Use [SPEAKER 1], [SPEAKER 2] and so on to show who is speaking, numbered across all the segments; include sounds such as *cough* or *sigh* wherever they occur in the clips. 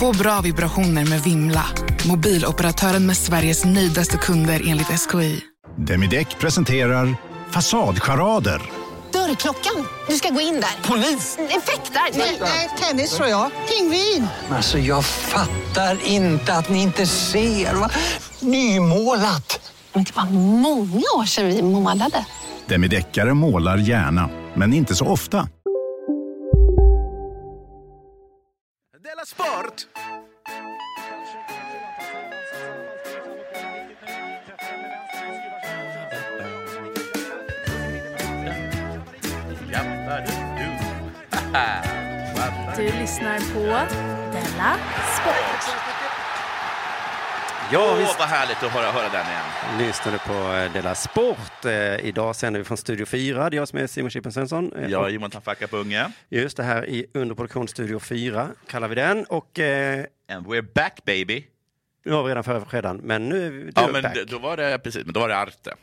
[SPEAKER 1] Få bra vibrationer med Vimla. Mobiloperatören med Sveriges nöjdaste kunder enligt SKI.
[SPEAKER 2] Demideck presenterar Fasadcharader.
[SPEAKER 3] Dörrklockan. Du ska gå in där. Polis? Effektar? Nej, tennis tror jag. Pingvin.
[SPEAKER 4] Alltså jag fattar inte att ni inte ser. Va? Nymålat!
[SPEAKER 3] Men
[SPEAKER 5] typ
[SPEAKER 3] det var många år sedan vi målade.
[SPEAKER 2] Demideckare målar gärna, men inte så ofta.
[SPEAKER 6] Du lyssnar på Della Sport.
[SPEAKER 7] Ja,
[SPEAKER 8] Åh,
[SPEAKER 7] vi
[SPEAKER 8] vad härligt att höra, höra den igen.
[SPEAKER 7] lyssnade på eh, Della Sport. Eh, Idag sänder vi från Studio 4. Det är jag som är Simon Chippen Svensson. Eh,
[SPEAKER 8] Ja,
[SPEAKER 7] och
[SPEAKER 8] Johan Tafaka på Unge.
[SPEAKER 7] Just det här i underproduktion Studio 4 kallar vi den. Och eh,
[SPEAKER 8] And we're back baby.
[SPEAKER 7] nu har vi redan förra fredagen, men nu är vi
[SPEAKER 8] Ja,
[SPEAKER 7] du
[SPEAKER 8] men
[SPEAKER 7] back.
[SPEAKER 8] d- då var det precis, men då var det Arte.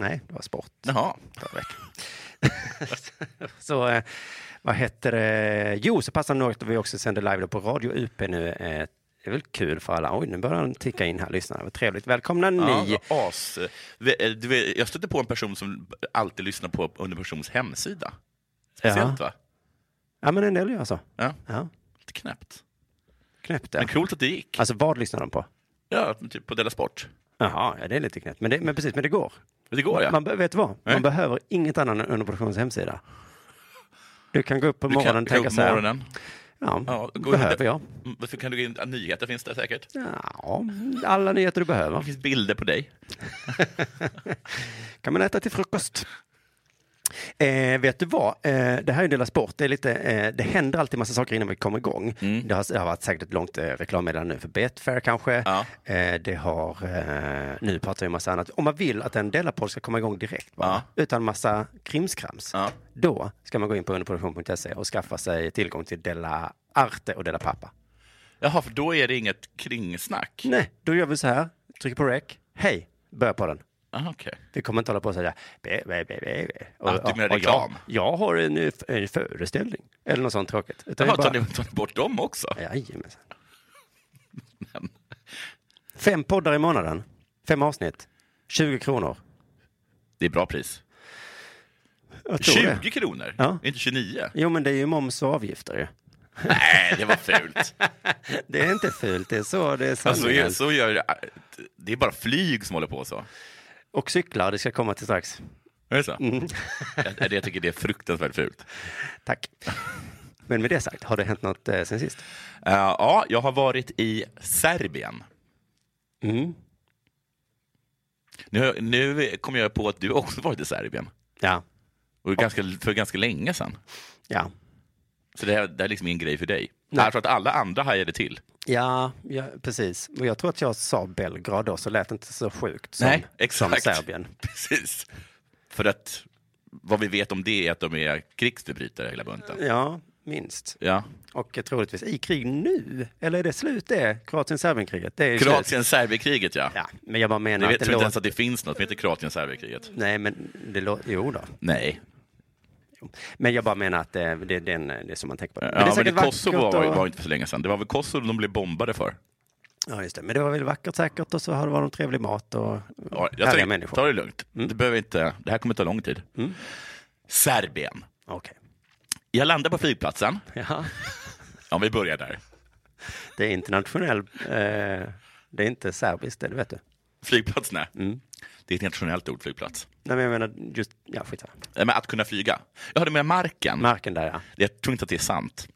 [SPEAKER 7] Nej, det var sport.
[SPEAKER 8] Jaha.
[SPEAKER 7] förra veckan. så eh, vad heter det? Jo, så passar det nog att vi också sänder live då på Radio UP nu. Eh, Det är väl kul för alla. Oj, nu börjar den ticka in här, lyssnarna. Vad trevligt. Välkomna
[SPEAKER 8] Ja,
[SPEAKER 7] ni.
[SPEAKER 8] vad as. Vi- eh, du vet, Jag stötte på en person som alltid lyssnar på under persons hemsida. Speciellt va?
[SPEAKER 7] ja, men en del gör så.
[SPEAKER 8] Ja,
[SPEAKER 7] Ja,
[SPEAKER 8] lite knäppt.
[SPEAKER 7] knäppt
[SPEAKER 8] Men
[SPEAKER 7] det.
[SPEAKER 8] coolt att det gick.
[SPEAKER 7] Alltså, vad lyssnar de på?
[SPEAKER 8] Ja, typ på Della Sport.
[SPEAKER 7] Jaha, ja, det är lite knäppt. Men, det, men precis, men det går.
[SPEAKER 8] Det går ja.
[SPEAKER 7] Man, be- vet du vad?
[SPEAKER 8] Nej.
[SPEAKER 7] Man behöver inget annat än underproduktions hemsida. Du kan gå upp på
[SPEAKER 8] Du kan-
[SPEAKER 7] morgonen och
[SPEAKER 8] kan gå
[SPEAKER 7] tänka
[SPEAKER 8] upp
[SPEAKER 7] så här.
[SPEAKER 8] morgonen.
[SPEAKER 7] Ja,
[SPEAKER 8] Ja, gå
[SPEAKER 7] behöver
[SPEAKER 8] in-
[SPEAKER 7] jag?
[SPEAKER 8] Mm, varför Kan du gå in, ja, nyheter finns där säkert.
[SPEAKER 7] Ja, alla nyheter du behöver.
[SPEAKER 8] Det finns bilder på dig.
[SPEAKER 7] kan man äta till frukost. Eh, vet du vad? Eh, det här är Dela Sport. Det, är lite, eh, det händer alltid massa saker innan vi kommer igång.
[SPEAKER 8] Mm.
[SPEAKER 7] Det, har, det har varit säkert ett långt eh, reklammeddelande nu för Betfair kanske.
[SPEAKER 8] Ja.
[SPEAKER 7] Eh, det har, eh, nu pratar vi om massa annat. Om man vill att en Dela-podd ska komma igång direkt, bara, utan massa krimskrams,
[SPEAKER 8] Ja.
[SPEAKER 7] då ska man gå in på underproduktion.se och skaffa sig tillgång till Dela Arte och Dela Pappa.
[SPEAKER 8] Jaha, för då är det inget kringsnack.
[SPEAKER 7] Nej, då gör vi så här. Trycker på rec. Hej, börja på den.
[SPEAKER 8] Aha, okej.
[SPEAKER 7] Vi kommer inte hålla på och säga be, be, be, be, be. Och,
[SPEAKER 8] Att du menar
[SPEAKER 7] och
[SPEAKER 8] reklam?
[SPEAKER 7] Jag, jag har en, eh, f- en föreställning eller något sånt tråkigt. Utan
[SPEAKER 8] Jaha,
[SPEAKER 7] vi
[SPEAKER 8] tar ni, tar ni bort dem också?
[SPEAKER 7] Jajamensan. Fem poddar i månaden, fem avsnitt, 20 kronor.
[SPEAKER 8] Det är bra pris.
[SPEAKER 7] Jag tror det.
[SPEAKER 8] 20 kronor?
[SPEAKER 7] Ja.
[SPEAKER 8] Inte 29?
[SPEAKER 7] Jo, men det är ju moms och avgifter ju.
[SPEAKER 8] Nej, det var fult.
[SPEAKER 7] Det är inte fult, det är så det
[SPEAKER 8] *laughs*
[SPEAKER 7] är
[SPEAKER 8] Alltså,
[SPEAKER 7] sanningen.
[SPEAKER 8] så gör, det är bara flyg som håller på så.
[SPEAKER 7] Och cyklar, det ska jag komma till strax.
[SPEAKER 8] Är det så?
[SPEAKER 7] Mm.
[SPEAKER 8] Jag, jag tycker Mm. det är fruktansvärt fult.
[SPEAKER 7] Tack. *laughs* Men med det sagt, har det hänt något eh, sen sist?
[SPEAKER 8] Eh, ja, jag har varit i Serbien.
[SPEAKER 7] Mm.
[SPEAKER 8] Nu, nu kom jag på att du också varit i Serbien.
[SPEAKER 7] Ja,
[SPEAKER 8] Och ganska, för ganska länge sedan.
[SPEAKER 7] ja.
[SPEAKER 8] Så det här, det här är liksom ingen grej för dig.
[SPEAKER 7] Nej.
[SPEAKER 8] Jag tror att alla andra hajade till. *laughs*
[SPEAKER 7] Ja, ja, precis. Och jag tror att jag sa Belgrad då, så lät det inte så sjukt som,
[SPEAKER 8] Nej, exakt.
[SPEAKER 7] som Serbien.
[SPEAKER 8] Precis. För att vad vi vet om det är att de är krigsförbrytare hela bunten.
[SPEAKER 7] Ja, minst.
[SPEAKER 8] Ja.
[SPEAKER 7] Och troligtvis i krig nu, eller är det slut det? Kroatien-Serbien-kriget? Det är ju slut.
[SPEAKER 8] Kroatien-Serbien-kriget, ja.
[SPEAKER 7] Ja, men jag bara
[SPEAKER 8] Ni
[SPEAKER 7] menar att
[SPEAKER 8] vet
[SPEAKER 7] det
[SPEAKER 8] tror inte ens
[SPEAKER 7] låter...
[SPEAKER 8] att det finns något som heter Kroatien-Serbien-kriget.
[SPEAKER 7] Nej, men det låter... Jo då.
[SPEAKER 8] Nej.
[SPEAKER 7] Men jag bara menar att eh, det, det, är den, det är som man tänker på.
[SPEAKER 8] Ja,
[SPEAKER 7] Men
[SPEAKER 8] men det
[SPEAKER 7] säkert
[SPEAKER 8] Kosovo
[SPEAKER 7] vackert
[SPEAKER 8] var,
[SPEAKER 7] och-
[SPEAKER 8] var inte för länge sedan. Det var väl Kosovo de blev bombade för.
[SPEAKER 7] Ja, just det. Men det var väl vackert säkert och så har det varit trevlig mat och
[SPEAKER 8] Ja, jag
[SPEAKER 7] härliga
[SPEAKER 8] tar,
[SPEAKER 7] människor. Mm.
[SPEAKER 8] ta det lugnt. Det, behöver inte, det här kommer ta lång tid. Serbien.
[SPEAKER 7] Okej. *laughs*
[SPEAKER 8] Jag landar på flygplatsen.
[SPEAKER 7] Ja,
[SPEAKER 8] Ja, vi börjar där.
[SPEAKER 7] det är internationell... Eh, det är inte serbiskt, det vet du.
[SPEAKER 8] Flygplats, nej.
[SPEAKER 7] Mm.
[SPEAKER 8] Det är ett internationellt ord, flygplats.
[SPEAKER 7] Nej, men jag menar just... Ja, skitsamma.
[SPEAKER 8] Nej, Men att kunna flyga. Jag hörde med marken.
[SPEAKER 7] Marken där, ja.
[SPEAKER 8] Jag tror inte att det är sant.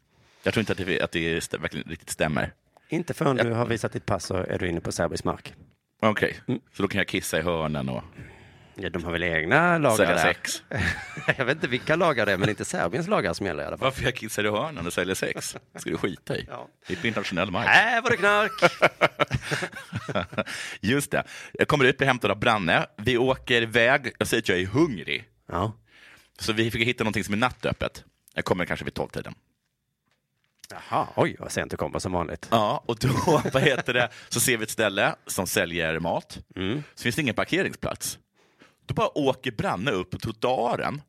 [SPEAKER 8] Jag tror inte att det, att det stä- verkligen riktigt stämmer.
[SPEAKER 7] Inte förrän du har visat ditt pass så är du inne på serbisk mark.
[SPEAKER 8] Okej, så då kan jag kissa i hörnen och...
[SPEAKER 7] Ja, de har väl egna lagar
[SPEAKER 8] Sälja
[SPEAKER 7] där.
[SPEAKER 8] sex.
[SPEAKER 7] *laughs* Jag vet inte vilka lagar det är, men inte Serbiens lagar som gäller i alla fall.
[SPEAKER 8] Varför jag kissar i hörnan och säljer sex? ska du skita i.
[SPEAKER 7] Ja.
[SPEAKER 8] Det är på internationell mark.
[SPEAKER 7] Här Äh, var det knark!
[SPEAKER 8] *laughs* Just det. Jag kommer ut, blir hämtad av Branne. Vi åker iväg. Jag säger att jag är hungrig.
[SPEAKER 7] Ja.
[SPEAKER 8] Så vi fick hitta någonting som är nattöppet. Jag kommer kanske vid tolvtiden.
[SPEAKER 7] Jaha, oj vad sent du kommer som vanligt.
[SPEAKER 8] Ja, och då *laughs* vad heter det, så ser vi ett ställe som säljer mat.
[SPEAKER 7] Mm.
[SPEAKER 8] Så finns det ingen parkeringsplats. Då bara åker Branne upp på trottoaren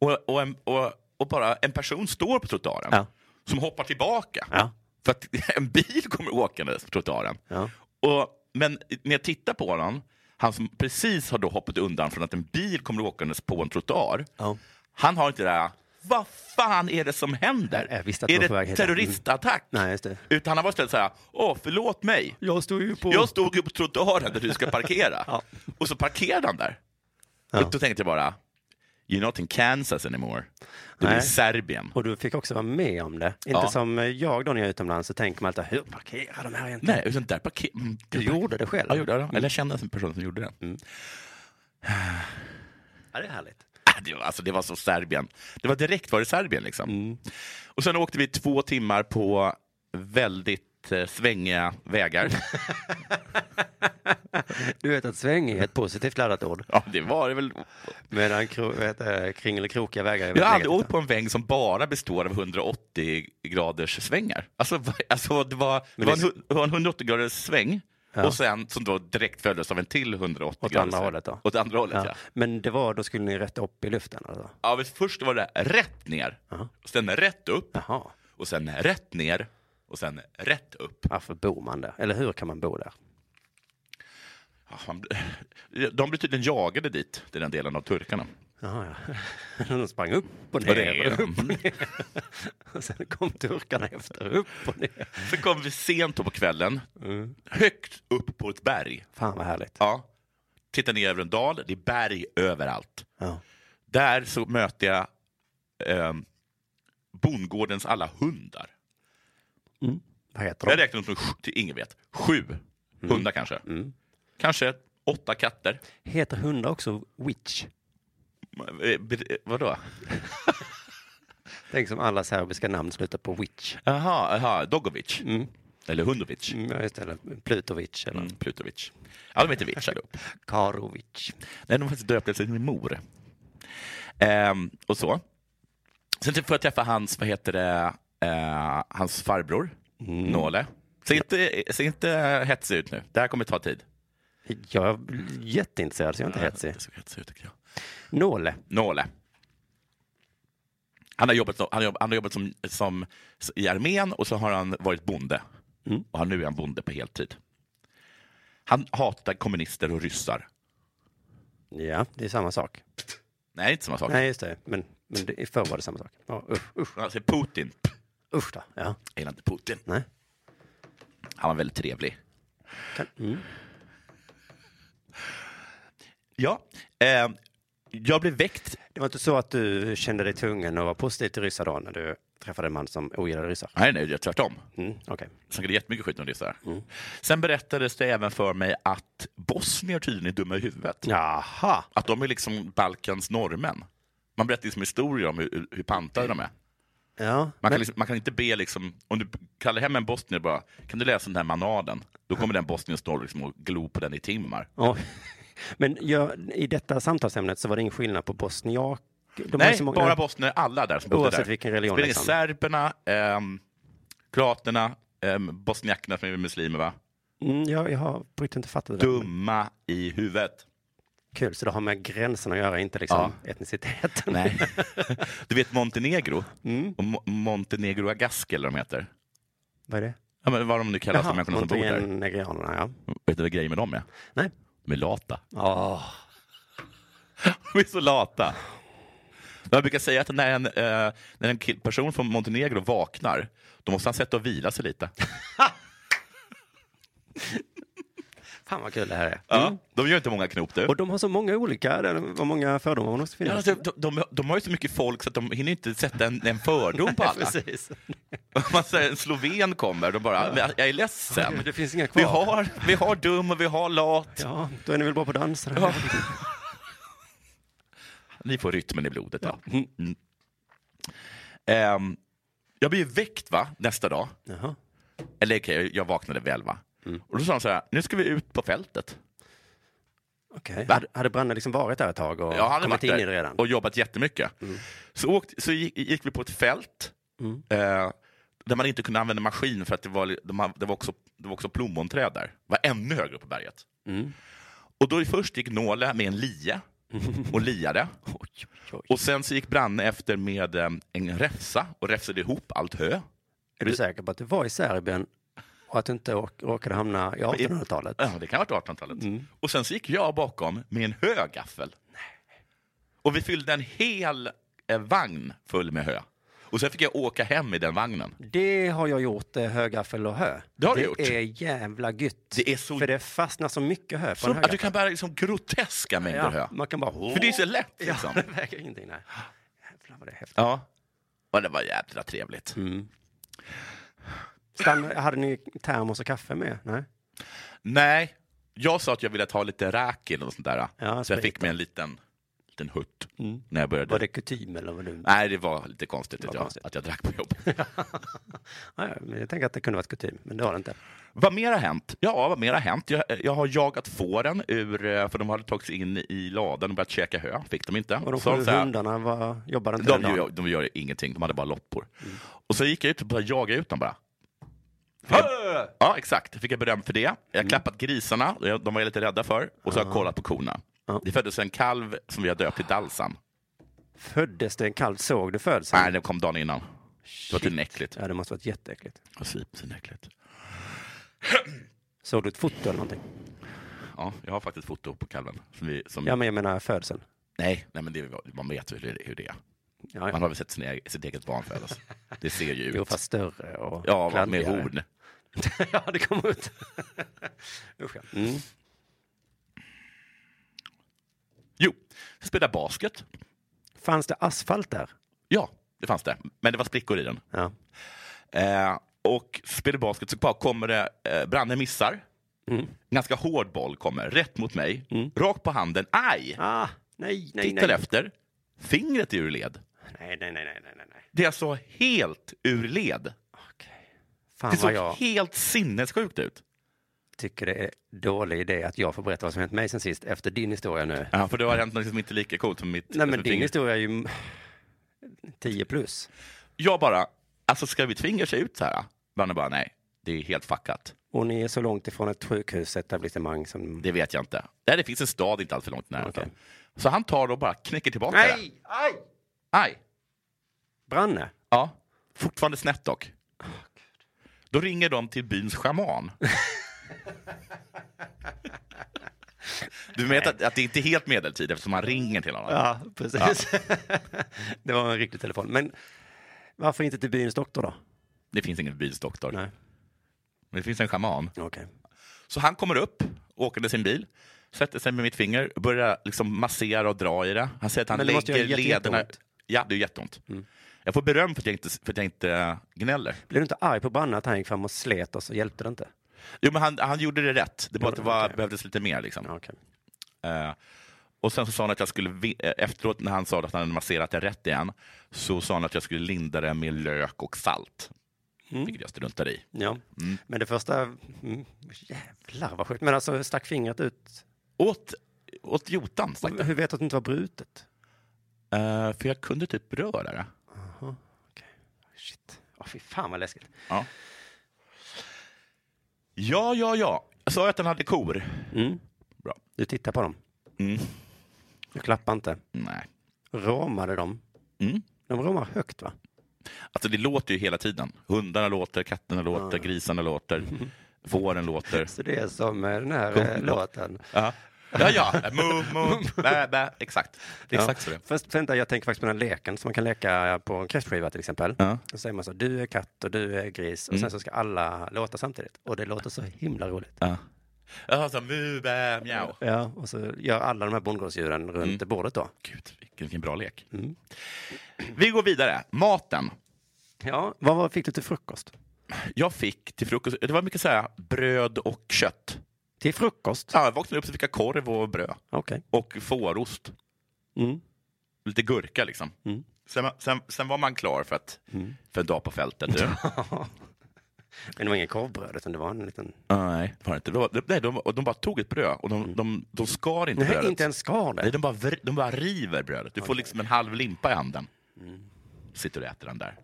[SPEAKER 8] och, och, en, och, och bara en person står på trottoaren
[SPEAKER 7] Ja.
[SPEAKER 8] som hoppar tillbaka.
[SPEAKER 7] Ja.
[SPEAKER 8] För att *laughs* en bil kommer åkandes på trottoaren.
[SPEAKER 7] Ja.
[SPEAKER 8] Och, men när jag tittar på honom, han som precis har då hoppat undan från att en bil kommer åkandes på en trottoar.
[SPEAKER 7] Ja.
[SPEAKER 8] Han har inte det där, vad fan är det som händer?
[SPEAKER 7] Jag visste att du
[SPEAKER 8] är
[SPEAKER 7] var på väg
[SPEAKER 8] det
[SPEAKER 7] hit. Mm.
[SPEAKER 8] terroristattack?
[SPEAKER 7] Nej, just det.
[SPEAKER 8] Utan han har varit så här, åh förlåt mig.
[SPEAKER 7] Jag stod ju på...
[SPEAKER 8] Jag stod ju på trottoaren där du ska parkera.
[SPEAKER 7] *laughs* Ja.
[SPEAKER 8] Och så parkerade han där.
[SPEAKER 7] Ja.
[SPEAKER 8] Och då tänkte jag bara, you're not in Kansas anymore. Du är i
[SPEAKER 7] Nej.
[SPEAKER 8] Serbien.
[SPEAKER 7] Och du fick också vara med om det. Inte
[SPEAKER 8] Ja.
[SPEAKER 7] som jag då när jag är utomlands så tänker man alltid, hur parkerar de här egentligen?
[SPEAKER 8] Nej, utan där parkerade...
[SPEAKER 7] Du gjorde det själv?
[SPEAKER 8] Ja, gjorde jag det. Eller jag kände en person som gjorde det.
[SPEAKER 7] Ja, det är härligt.
[SPEAKER 8] Ah, *laughs* Det var, alltså, det var så Serbien. Det var direkt var det Serbien liksom. Och sen åkte vi två timmar på väldigt eh, svängiga *laughs* vägar.
[SPEAKER 7] Du vet att sväng är ett positivt laddat ord.
[SPEAKER 8] ja, det var det väl.
[SPEAKER 7] Medan kro, vet, eh, kringelikrokiga vägar är
[SPEAKER 8] Jag
[SPEAKER 7] väldigt
[SPEAKER 8] har aldrig
[SPEAKER 7] negativt.
[SPEAKER 8] åkt på en väg som bara består av 180 graders svängar. Alltså, va- alltså det, var, det,
[SPEAKER 7] Men
[SPEAKER 8] var
[SPEAKER 7] det-
[SPEAKER 8] en, hu- det var en 180 graders sväng och sen som då direkt följdes av en till 180
[SPEAKER 7] Åt
[SPEAKER 8] graders
[SPEAKER 7] andra
[SPEAKER 8] sväng.
[SPEAKER 7] hållet då?
[SPEAKER 8] Åt andra hållet, ja.
[SPEAKER 7] Ja. Men det var, då skulle ni rätt upp i luften alltså?
[SPEAKER 8] ja. men först var det rätt ner,
[SPEAKER 7] Ja.
[SPEAKER 8] sen rätt upp
[SPEAKER 7] Jaha,
[SPEAKER 8] och sen rätt ner och sen rätt upp.
[SPEAKER 7] varför bor man där? Eller hur kan man bo där?
[SPEAKER 8] Ja, man blir- *laughs* De blev tydligen jagade dit, till den delen av turkarna.
[SPEAKER 7] Jaha, ja. *laughs* De sprang upp och
[SPEAKER 8] Ja, det
[SPEAKER 7] ner.
[SPEAKER 8] är
[SPEAKER 7] Och
[SPEAKER 8] de.
[SPEAKER 7] upp och ner. *laughs* Och sen kom turkarna efter, upp och ner.
[SPEAKER 8] Sen kom vi sent då på kvällen, högt upp på ett berg.
[SPEAKER 7] Fan vad härligt.
[SPEAKER 8] Ja. Tittar ner över en dal, det är berg överallt.
[SPEAKER 7] Ja.
[SPEAKER 8] Där så möter jag eh, bondgårdens alla hundar.
[SPEAKER 7] Vad heter
[SPEAKER 8] Jag
[SPEAKER 7] de?
[SPEAKER 8] räknar dem som, sj- till- ingen vet, sju hundar kanske. Kanske åtta katter.
[SPEAKER 7] Heter hundar också witch?
[SPEAKER 8] Eh, be- eh, Vadå?
[SPEAKER 7] Tänk som alla serbiska namn slutar på witch.
[SPEAKER 8] Jaha, aha, Dogovic. Eller Hundovic.
[SPEAKER 7] Mm, just det, eller Plutovic eller
[SPEAKER 8] Mm. Plutovic. Ja, de heter Vic allihop.
[SPEAKER 7] Karovic.
[SPEAKER 8] Nej, de har faktiskt döpt efter min mor. Ehm, och så. Sen typ får jag träffa hans, vad heter det, eh, hans farbror, Nåle. Se inte, se inte hetsig ut nu, det här kommer ta tid.
[SPEAKER 7] Jag är jätteintresserad så jag är inte hetsig.
[SPEAKER 8] Det såg hetsig ut tycker jag.
[SPEAKER 7] Nåle.
[SPEAKER 8] Nåle. Han har jobbat, som- han har jobbat, han har jobbat som, som, i armén och så har han varit bonde. Och han, nu är han bonde på heltid. Han hatar kommunister och ryssar.
[SPEAKER 7] Ja, det är samma sak.
[SPEAKER 8] Nej, inte samma sak.
[SPEAKER 7] Nej, just det. Men, men det, förr var det samma sak. Ja, usch, usch,
[SPEAKER 8] Han säger Putin.
[SPEAKER 7] usch då. Ja.
[SPEAKER 8] Jag gillar inte Putin.
[SPEAKER 7] Nej.
[SPEAKER 8] Han var väldigt trevlig. Ja, eh, jag blev väckt.
[SPEAKER 7] Det var inte så att du kände dig tvungen att vara positiv till ryssar då när du träffade en man som ogillade ryssar?
[SPEAKER 8] Nej, nej, det är tvärtom.
[SPEAKER 7] Mm, okej.
[SPEAKER 8] Snackade jättemycket skit om ryssar. Sen berättades det även för mig att bosnier tydligen är dumma i huvudet.
[SPEAKER 7] Jaha.
[SPEAKER 8] Att de är liksom Balkans norrmän. Man berättar liksom historier om hur, hur pantade de är.
[SPEAKER 7] Ja,
[SPEAKER 8] Man kan,
[SPEAKER 7] men,
[SPEAKER 8] liksom, man kan inte be, liksom, om du kallar hem en bosnier bara, kan du läsa den här manaden? Då kommer den bosnien stå liksom och glo på den i timmar.
[SPEAKER 7] ja. men jag, i detta samtalsämnet så var det ingen skillnad på bosniak... De har ju
[SPEAKER 8] Nej,
[SPEAKER 7] så många-
[SPEAKER 8] bara bosnier. Alla där som bodde
[SPEAKER 7] Oavsett
[SPEAKER 8] där.
[SPEAKER 7] vilken religion,
[SPEAKER 8] Spelar in
[SPEAKER 7] liksom.
[SPEAKER 8] Serberna, ehm, kroaterna, ehm, bosniakerna som är muslimer, va?
[SPEAKER 7] Mm, jag, jag har på riktigt inte fattat det.
[SPEAKER 8] Dumma i huvudet.
[SPEAKER 7] Kul, så det har med gränserna att göra, inte liksom etniciteten.
[SPEAKER 8] Nej. *laughs* Du vet Montenegro?
[SPEAKER 7] Mm.
[SPEAKER 8] Och Mo- Montenegro Agask eller vad de heter.
[SPEAKER 7] Vad är det?
[SPEAKER 8] Ja, men vad de nu kallas, de människorna som bor där.
[SPEAKER 7] Montenegrianerna, ja.
[SPEAKER 8] Vet du vad grejen med dem är?
[SPEAKER 7] Nej.
[SPEAKER 8] De är lata. *laughs*
[SPEAKER 7] Oh.
[SPEAKER 8] De är så lata. Jag brukar säga att när en, eh, när en kill- person från Montenegro vaknar, då måste han sätta och vila sig lite.
[SPEAKER 7] Fan vad kul det här är. Mm.
[SPEAKER 8] Ja, Mm. de gör inte många knop du.
[SPEAKER 7] Och de har så många olika, det var många fördomar man måste
[SPEAKER 8] Ja,
[SPEAKER 7] finnas.
[SPEAKER 8] alltså, de, de, de har ju så mycket folk så att de hinner inte sätta en, en fördom på
[SPEAKER 7] *laughs*
[SPEAKER 8] alla.
[SPEAKER 7] Precis.
[SPEAKER 8] Man säger, en sloven kommer, de bara, "Jag- jag är ledsen.
[SPEAKER 7] Det finns inga
[SPEAKER 8] Vi
[SPEAKER 7] kvar.
[SPEAKER 8] har, vi har dum och vi har lat.
[SPEAKER 7] Ja, då är ni väl bra på dans?
[SPEAKER 8] Ja. Ni får rytmen i blodet. Ja. Mm. Ehm, jag blev ju väckt va, nästa dag.
[SPEAKER 7] Jaha.
[SPEAKER 8] Eller okej, jag vaknade väl va.
[SPEAKER 7] Mm.
[SPEAKER 8] Och då sa de så här, nu ska vi ut på fältet.
[SPEAKER 7] Okej.
[SPEAKER 8] Va?
[SPEAKER 7] Hade- Hade Branne liksom varit där ett tag och
[SPEAKER 8] Jag hade
[SPEAKER 7] kommit
[SPEAKER 8] varit
[SPEAKER 7] in i
[SPEAKER 8] där
[SPEAKER 7] det redan? Mm.
[SPEAKER 8] och jobbat jättemycket. Så, åkte, så gick, gick vi på ett fält eh, där man inte kunde använda maskin för att det var, de, ha- det var, också, det var också plommonträd där. Det var ännu högre upp på berget.
[SPEAKER 7] Mm.
[SPEAKER 8] Och då först gick Nåle med en lie och
[SPEAKER 7] *laughs*
[SPEAKER 8] liade. Och sen så gick Branne efter med eh, en räfsa och räfsade ihop allt hö.
[SPEAKER 7] Är du säker på att du var i Serbien och att du inte åk- råkade hamna i 1800-talet?
[SPEAKER 8] Ja, det kan ha varit 1800-talet.
[SPEAKER 7] Mm.
[SPEAKER 8] Och sen så gick jag bakom med en hög gaffel. Och vi fyllde en hel eh, vagn full med hö. Och sen fick jag åka hem i den vagnen.
[SPEAKER 7] Det har jag gjort, eh, högaffel och hö.
[SPEAKER 8] Det har du
[SPEAKER 7] det
[SPEAKER 8] gjort.
[SPEAKER 7] är jävla gött.
[SPEAKER 8] Det är så-
[SPEAKER 7] För det fastnar så mycket hö på
[SPEAKER 8] Så
[SPEAKER 7] en
[SPEAKER 8] att
[SPEAKER 7] högaffel.
[SPEAKER 8] du kan bära liksom groteska mängder hö.
[SPEAKER 7] ja, man kan bara...
[SPEAKER 8] För det är så lätt liksom.
[SPEAKER 7] *laughs* Ja, det väger ingenting. Nej. Jävlar vad det är häftigt.
[SPEAKER 8] Ja. Och det var jävla trevligt.
[SPEAKER 7] Stann, hade ni termos och kaffe med? Nej.
[SPEAKER 8] Nej, jag sa att jag ville ta lite räkil och sånt där.
[SPEAKER 7] Ja,
[SPEAKER 8] så jag
[SPEAKER 7] sprit
[SPEAKER 8] fick mig en liten, liten hutt när jag började.
[SPEAKER 7] Var det kutym eller var det...
[SPEAKER 8] Nej, det var lite konstigt, att, jag,
[SPEAKER 7] konstigt.
[SPEAKER 8] att jag drack på jobbet. *laughs*
[SPEAKER 7] Ja, ja, men jag tänker att det kunde varit kutym, men det har det inte.
[SPEAKER 8] Vad mer har hänt? Ja, vad mer har hänt? Jag, jag har jagat fåren ur, eh, för de hade tagits in i ladan och börjat käka hö. Fick de inte.
[SPEAKER 7] Och de
[SPEAKER 8] Så
[SPEAKER 7] sju
[SPEAKER 8] så här,
[SPEAKER 7] hundarna var, jobbade inte
[SPEAKER 8] de,
[SPEAKER 7] den dagen.
[SPEAKER 8] gör, de gör ingenting, de hade bara loppor.
[SPEAKER 7] Mm.
[SPEAKER 8] Och så gick jag ut och började jaga ut dem bara. Fick jag, ja, exakt. Fick jag beröm för det. Jag har
[SPEAKER 7] Mm.
[SPEAKER 8] klappat grisarna, jag- de var jag lite rädda för. Och så har jag kollat på korna. Det föddes en kalv som vi har döpt till Dalsan.
[SPEAKER 7] Föddes det en kalv? Såg du födseln?
[SPEAKER 8] Nej, den kom dagen innan. Det var tydligen äckligt.
[SPEAKER 7] Ja, det måste varit jätteäckligt.
[SPEAKER 8] Och svin- äckligt.
[SPEAKER 7] Såg du ett foto eller någonting?
[SPEAKER 8] Ja, jag har faktiskt foto på kalven. Som vi, som,
[SPEAKER 7] Ja, men jag menar födseln.
[SPEAKER 8] Nej, nej men det, man vet ju hur det, hur det är.
[SPEAKER 7] Ja,
[SPEAKER 8] Man
[SPEAKER 7] ja.
[SPEAKER 8] har väl sett sin, e- sitt eget barn födas. Det ser ju
[SPEAKER 7] *laughs* Jo,
[SPEAKER 8] ut.
[SPEAKER 7] fast större och
[SPEAKER 8] Ja, med
[SPEAKER 7] kladdigare.
[SPEAKER 8] horn.
[SPEAKER 7] *laughs* ja, det kom ut. *laughs* Usch, ja. mm.
[SPEAKER 8] Jo, jag spelade basket.
[SPEAKER 7] Fanns det asfalt där?
[SPEAKER 8] Ja, det fanns det. Men det var sprickor i den.
[SPEAKER 7] Ja.
[SPEAKER 8] Eh, och spelade basket så bara kommer det, eh, Branne missar.
[SPEAKER 7] Mm.
[SPEAKER 8] Ganska hård boll kommer, rätt mot mig. Rakt på handen. Aj!
[SPEAKER 7] Ah, Mm. nej, nej,
[SPEAKER 8] Tittar
[SPEAKER 7] nej.
[SPEAKER 8] efter. Fingret är ur led.
[SPEAKER 7] Nej, nej, nej, nej, nej, nej, nej.
[SPEAKER 8] Det är alltså helt ur led.
[SPEAKER 7] Okej. Fan
[SPEAKER 8] Det såg
[SPEAKER 7] Ah, vad jag
[SPEAKER 8] helt sinnessjukt ut.
[SPEAKER 7] tycker det är dålig idé att jag får berätta vad som hänt mig sen sist efter din historia nu.
[SPEAKER 8] Ja, för det har hänt något som inte är lika coolt som mitt.
[SPEAKER 7] Nej, men
[SPEAKER 8] som
[SPEAKER 7] din
[SPEAKER 8] fingret.
[SPEAKER 7] historia är ju 10 plus.
[SPEAKER 8] Jag bara, alltså ska mitt finger se ut så här? Branne bara, nej, det är helt fuckat.
[SPEAKER 7] Och ni är så långt ifrån ett sjukhusetablissemang som...
[SPEAKER 8] Det vet jag inte. Nej, det finns en stad inte alltför långt nära.
[SPEAKER 7] Okej.
[SPEAKER 8] Så han tar och bara knäcker tillbaka det.
[SPEAKER 7] Nej! Aj!
[SPEAKER 8] Aj!
[SPEAKER 7] Branne?
[SPEAKER 8] Ja, fortfarande snett dock. Då ringer de till byns schaman. Du vet att, att det inte är helt medeltid eftersom man ringer till honom.
[SPEAKER 7] Ja, *laughs* precis. det var en riktig telefon. Men varför inte till byns doktor då?
[SPEAKER 8] Det finns ingen byns doktor.
[SPEAKER 7] Nej.
[SPEAKER 8] Men det finns en schaman.
[SPEAKER 7] Okej.
[SPEAKER 8] Så han kommer upp, åkande sin bil, sätter sig med mitt finger och börjar liksom massera och dra i det. Han säger att han
[SPEAKER 7] Men det måste
[SPEAKER 8] lägger
[SPEAKER 7] göra Mm. jätte-
[SPEAKER 8] lederna...
[SPEAKER 7] jätteont.
[SPEAKER 8] Ja, det är jätteont. Jag får beröm för att jag inte, för att jag inte eh, gnäller.
[SPEAKER 7] Blev du inte arg på Branne att han gick fram och slet oss och hjälpte det inte?
[SPEAKER 8] Jo, men han, han gjorde det rätt. Det, bara att det var,
[SPEAKER 7] okej.
[SPEAKER 8] behövdes lite mer. Liksom.
[SPEAKER 7] Okej.
[SPEAKER 8] Eh, och sen så sa han att jag skulle, vi- eh, efteråt när han sa att han hade masserat det rätt igen, så sa han att jag skulle linda det med lök och salt.
[SPEAKER 7] Mm.
[SPEAKER 8] Vilket jag struntade i.
[SPEAKER 7] Ja. Men det första... Mm, jävlar vad sjukt. Men alltså, hur stack fingret ut?
[SPEAKER 8] Åt, åt jotan, stack det.
[SPEAKER 7] Hur vet du att det inte var brutet?
[SPEAKER 8] Eh, För jag kunde typ röra det.
[SPEAKER 7] Shit. Åh, fy fan vad läskigt.
[SPEAKER 8] Ja. Ja, ja, ja. Jag sa ju att han hade kor. Bra.
[SPEAKER 7] Mm. Du tittar på dem. Du klappar inte.
[SPEAKER 8] Nej.
[SPEAKER 7] Romade de?
[SPEAKER 8] Mm.
[SPEAKER 7] De romar högt, va?
[SPEAKER 8] Alltså det låter ju hela tiden. Hundarna låter, katterna låter, grisarna låter, *laughs* fåren låter.
[SPEAKER 7] Så det är som eh, den här eh, låten.
[SPEAKER 8] Ja, ja. ja. Mu, *laughs* mu, bä, bä. Exakt. Det är exakt så det är.
[SPEAKER 7] Först, vänta, jag tänker faktiskt på den här leken som man kan leka eh, på en kräftskiva till exempel.
[SPEAKER 8] Ja. Mm.
[SPEAKER 7] Då säger man så, du är katt och du är gris och sen så ska alla låta samtidigt. Och det låter så himla roligt.
[SPEAKER 8] Ja. Ja, så mu, bä, mjau.
[SPEAKER 7] Ja, och så gör alla de här bondgårdsdjuren runt
[SPEAKER 8] Mm.
[SPEAKER 7] bordet då.
[SPEAKER 8] Gud, vilken, vilken bra lek. Vi går vidare. Maten.
[SPEAKER 7] Ja, vad var, fick du till frukost?
[SPEAKER 8] Jag fick till frukost, det var mycket så här bröd och kött.
[SPEAKER 7] Till frukost?
[SPEAKER 8] Ja, jag vaknade upp så fick jag korv och bröd.
[SPEAKER 7] Okej.
[SPEAKER 8] Och fårost.
[SPEAKER 7] Mm. *laughs*
[SPEAKER 8] lite gurka liksom. Sen, sen, sen var man klar för, att,
[SPEAKER 7] Mm.
[SPEAKER 8] för en dag på fältet. *laughs* du.
[SPEAKER 7] Men det var ingen korvbröd, utan det var en liten...
[SPEAKER 8] Ah, Nej, det var det inte. Det var, nej, de, och de bara tog ett bröd och de, de, de skar inte
[SPEAKER 7] Mm. Nej,
[SPEAKER 8] brödet.
[SPEAKER 7] inte ens skar
[SPEAKER 8] nej,
[SPEAKER 7] det.
[SPEAKER 8] de, bara, vr- de bara river brödet. Du får liksom en halv limpa i handen.
[SPEAKER 7] Mm.
[SPEAKER 8] Sitter och äter den där.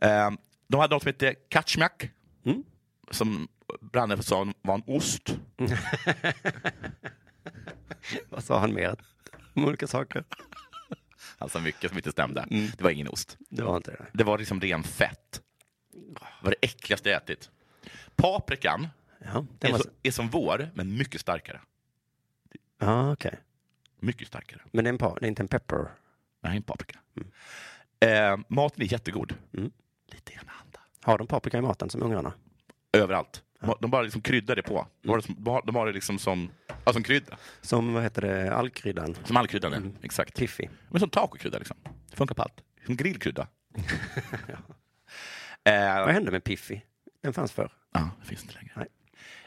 [SPEAKER 8] Eh, de hade något som hette kaczmiak.
[SPEAKER 7] Mm.
[SPEAKER 8] Som branden sa var en ost.
[SPEAKER 7] Vad sa han mer? Om olika saker?
[SPEAKER 8] Alltså mycket som inte stämde.
[SPEAKER 7] Mm.
[SPEAKER 8] Det var ingen ost.
[SPEAKER 7] Det var inte det.
[SPEAKER 8] Det var liksom ren fett. Det var det äckligaste jag ätit. Paprikan
[SPEAKER 7] Ja, det
[SPEAKER 8] är,
[SPEAKER 7] var...
[SPEAKER 8] så, är som vår, men mycket starkare.
[SPEAKER 7] Ja, okej.
[SPEAKER 8] Mycket starkare.
[SPEAKER 7] Men det är, en pa... det är inte en pepper.
[SPEAKER 8] Nej, en paprika.
[SPEAKER 7] Mm.
[SPEAKER 8] Eh, maten är jättegod. Lite ena handa.
[SPEAKER 7] Har de paprika i maten som ungrarna?
[SPEAKER 8] Överallt. Ma- De bara liksom kryddar det
[SPEAKER 7] Mm.
[SPEAKER 8] på. De har det, som, de har det liksom som, ja, som krydda.
[SPEAKER 7] Som, vad heter det, allkryddan?
[SPEAKER 8] Som all krydda nu.
[SPEAKER 7] Mm.
[SPEAKER 8] Exakt.
[SPEAKER 7] Piffi.
[SPEAKER 8] Men som tacokrydda liksom. Det funkar på allt. Som
[SPEAKER 7] *laughs*
[SPEAKER 8] grillkrydda. eh,
[SPEAKER 7] Vad hände med Piffi? Den fanns förr.
[SPEAKER 8] Ja, det finns inte längre.
[SPEAKER 7] Nej.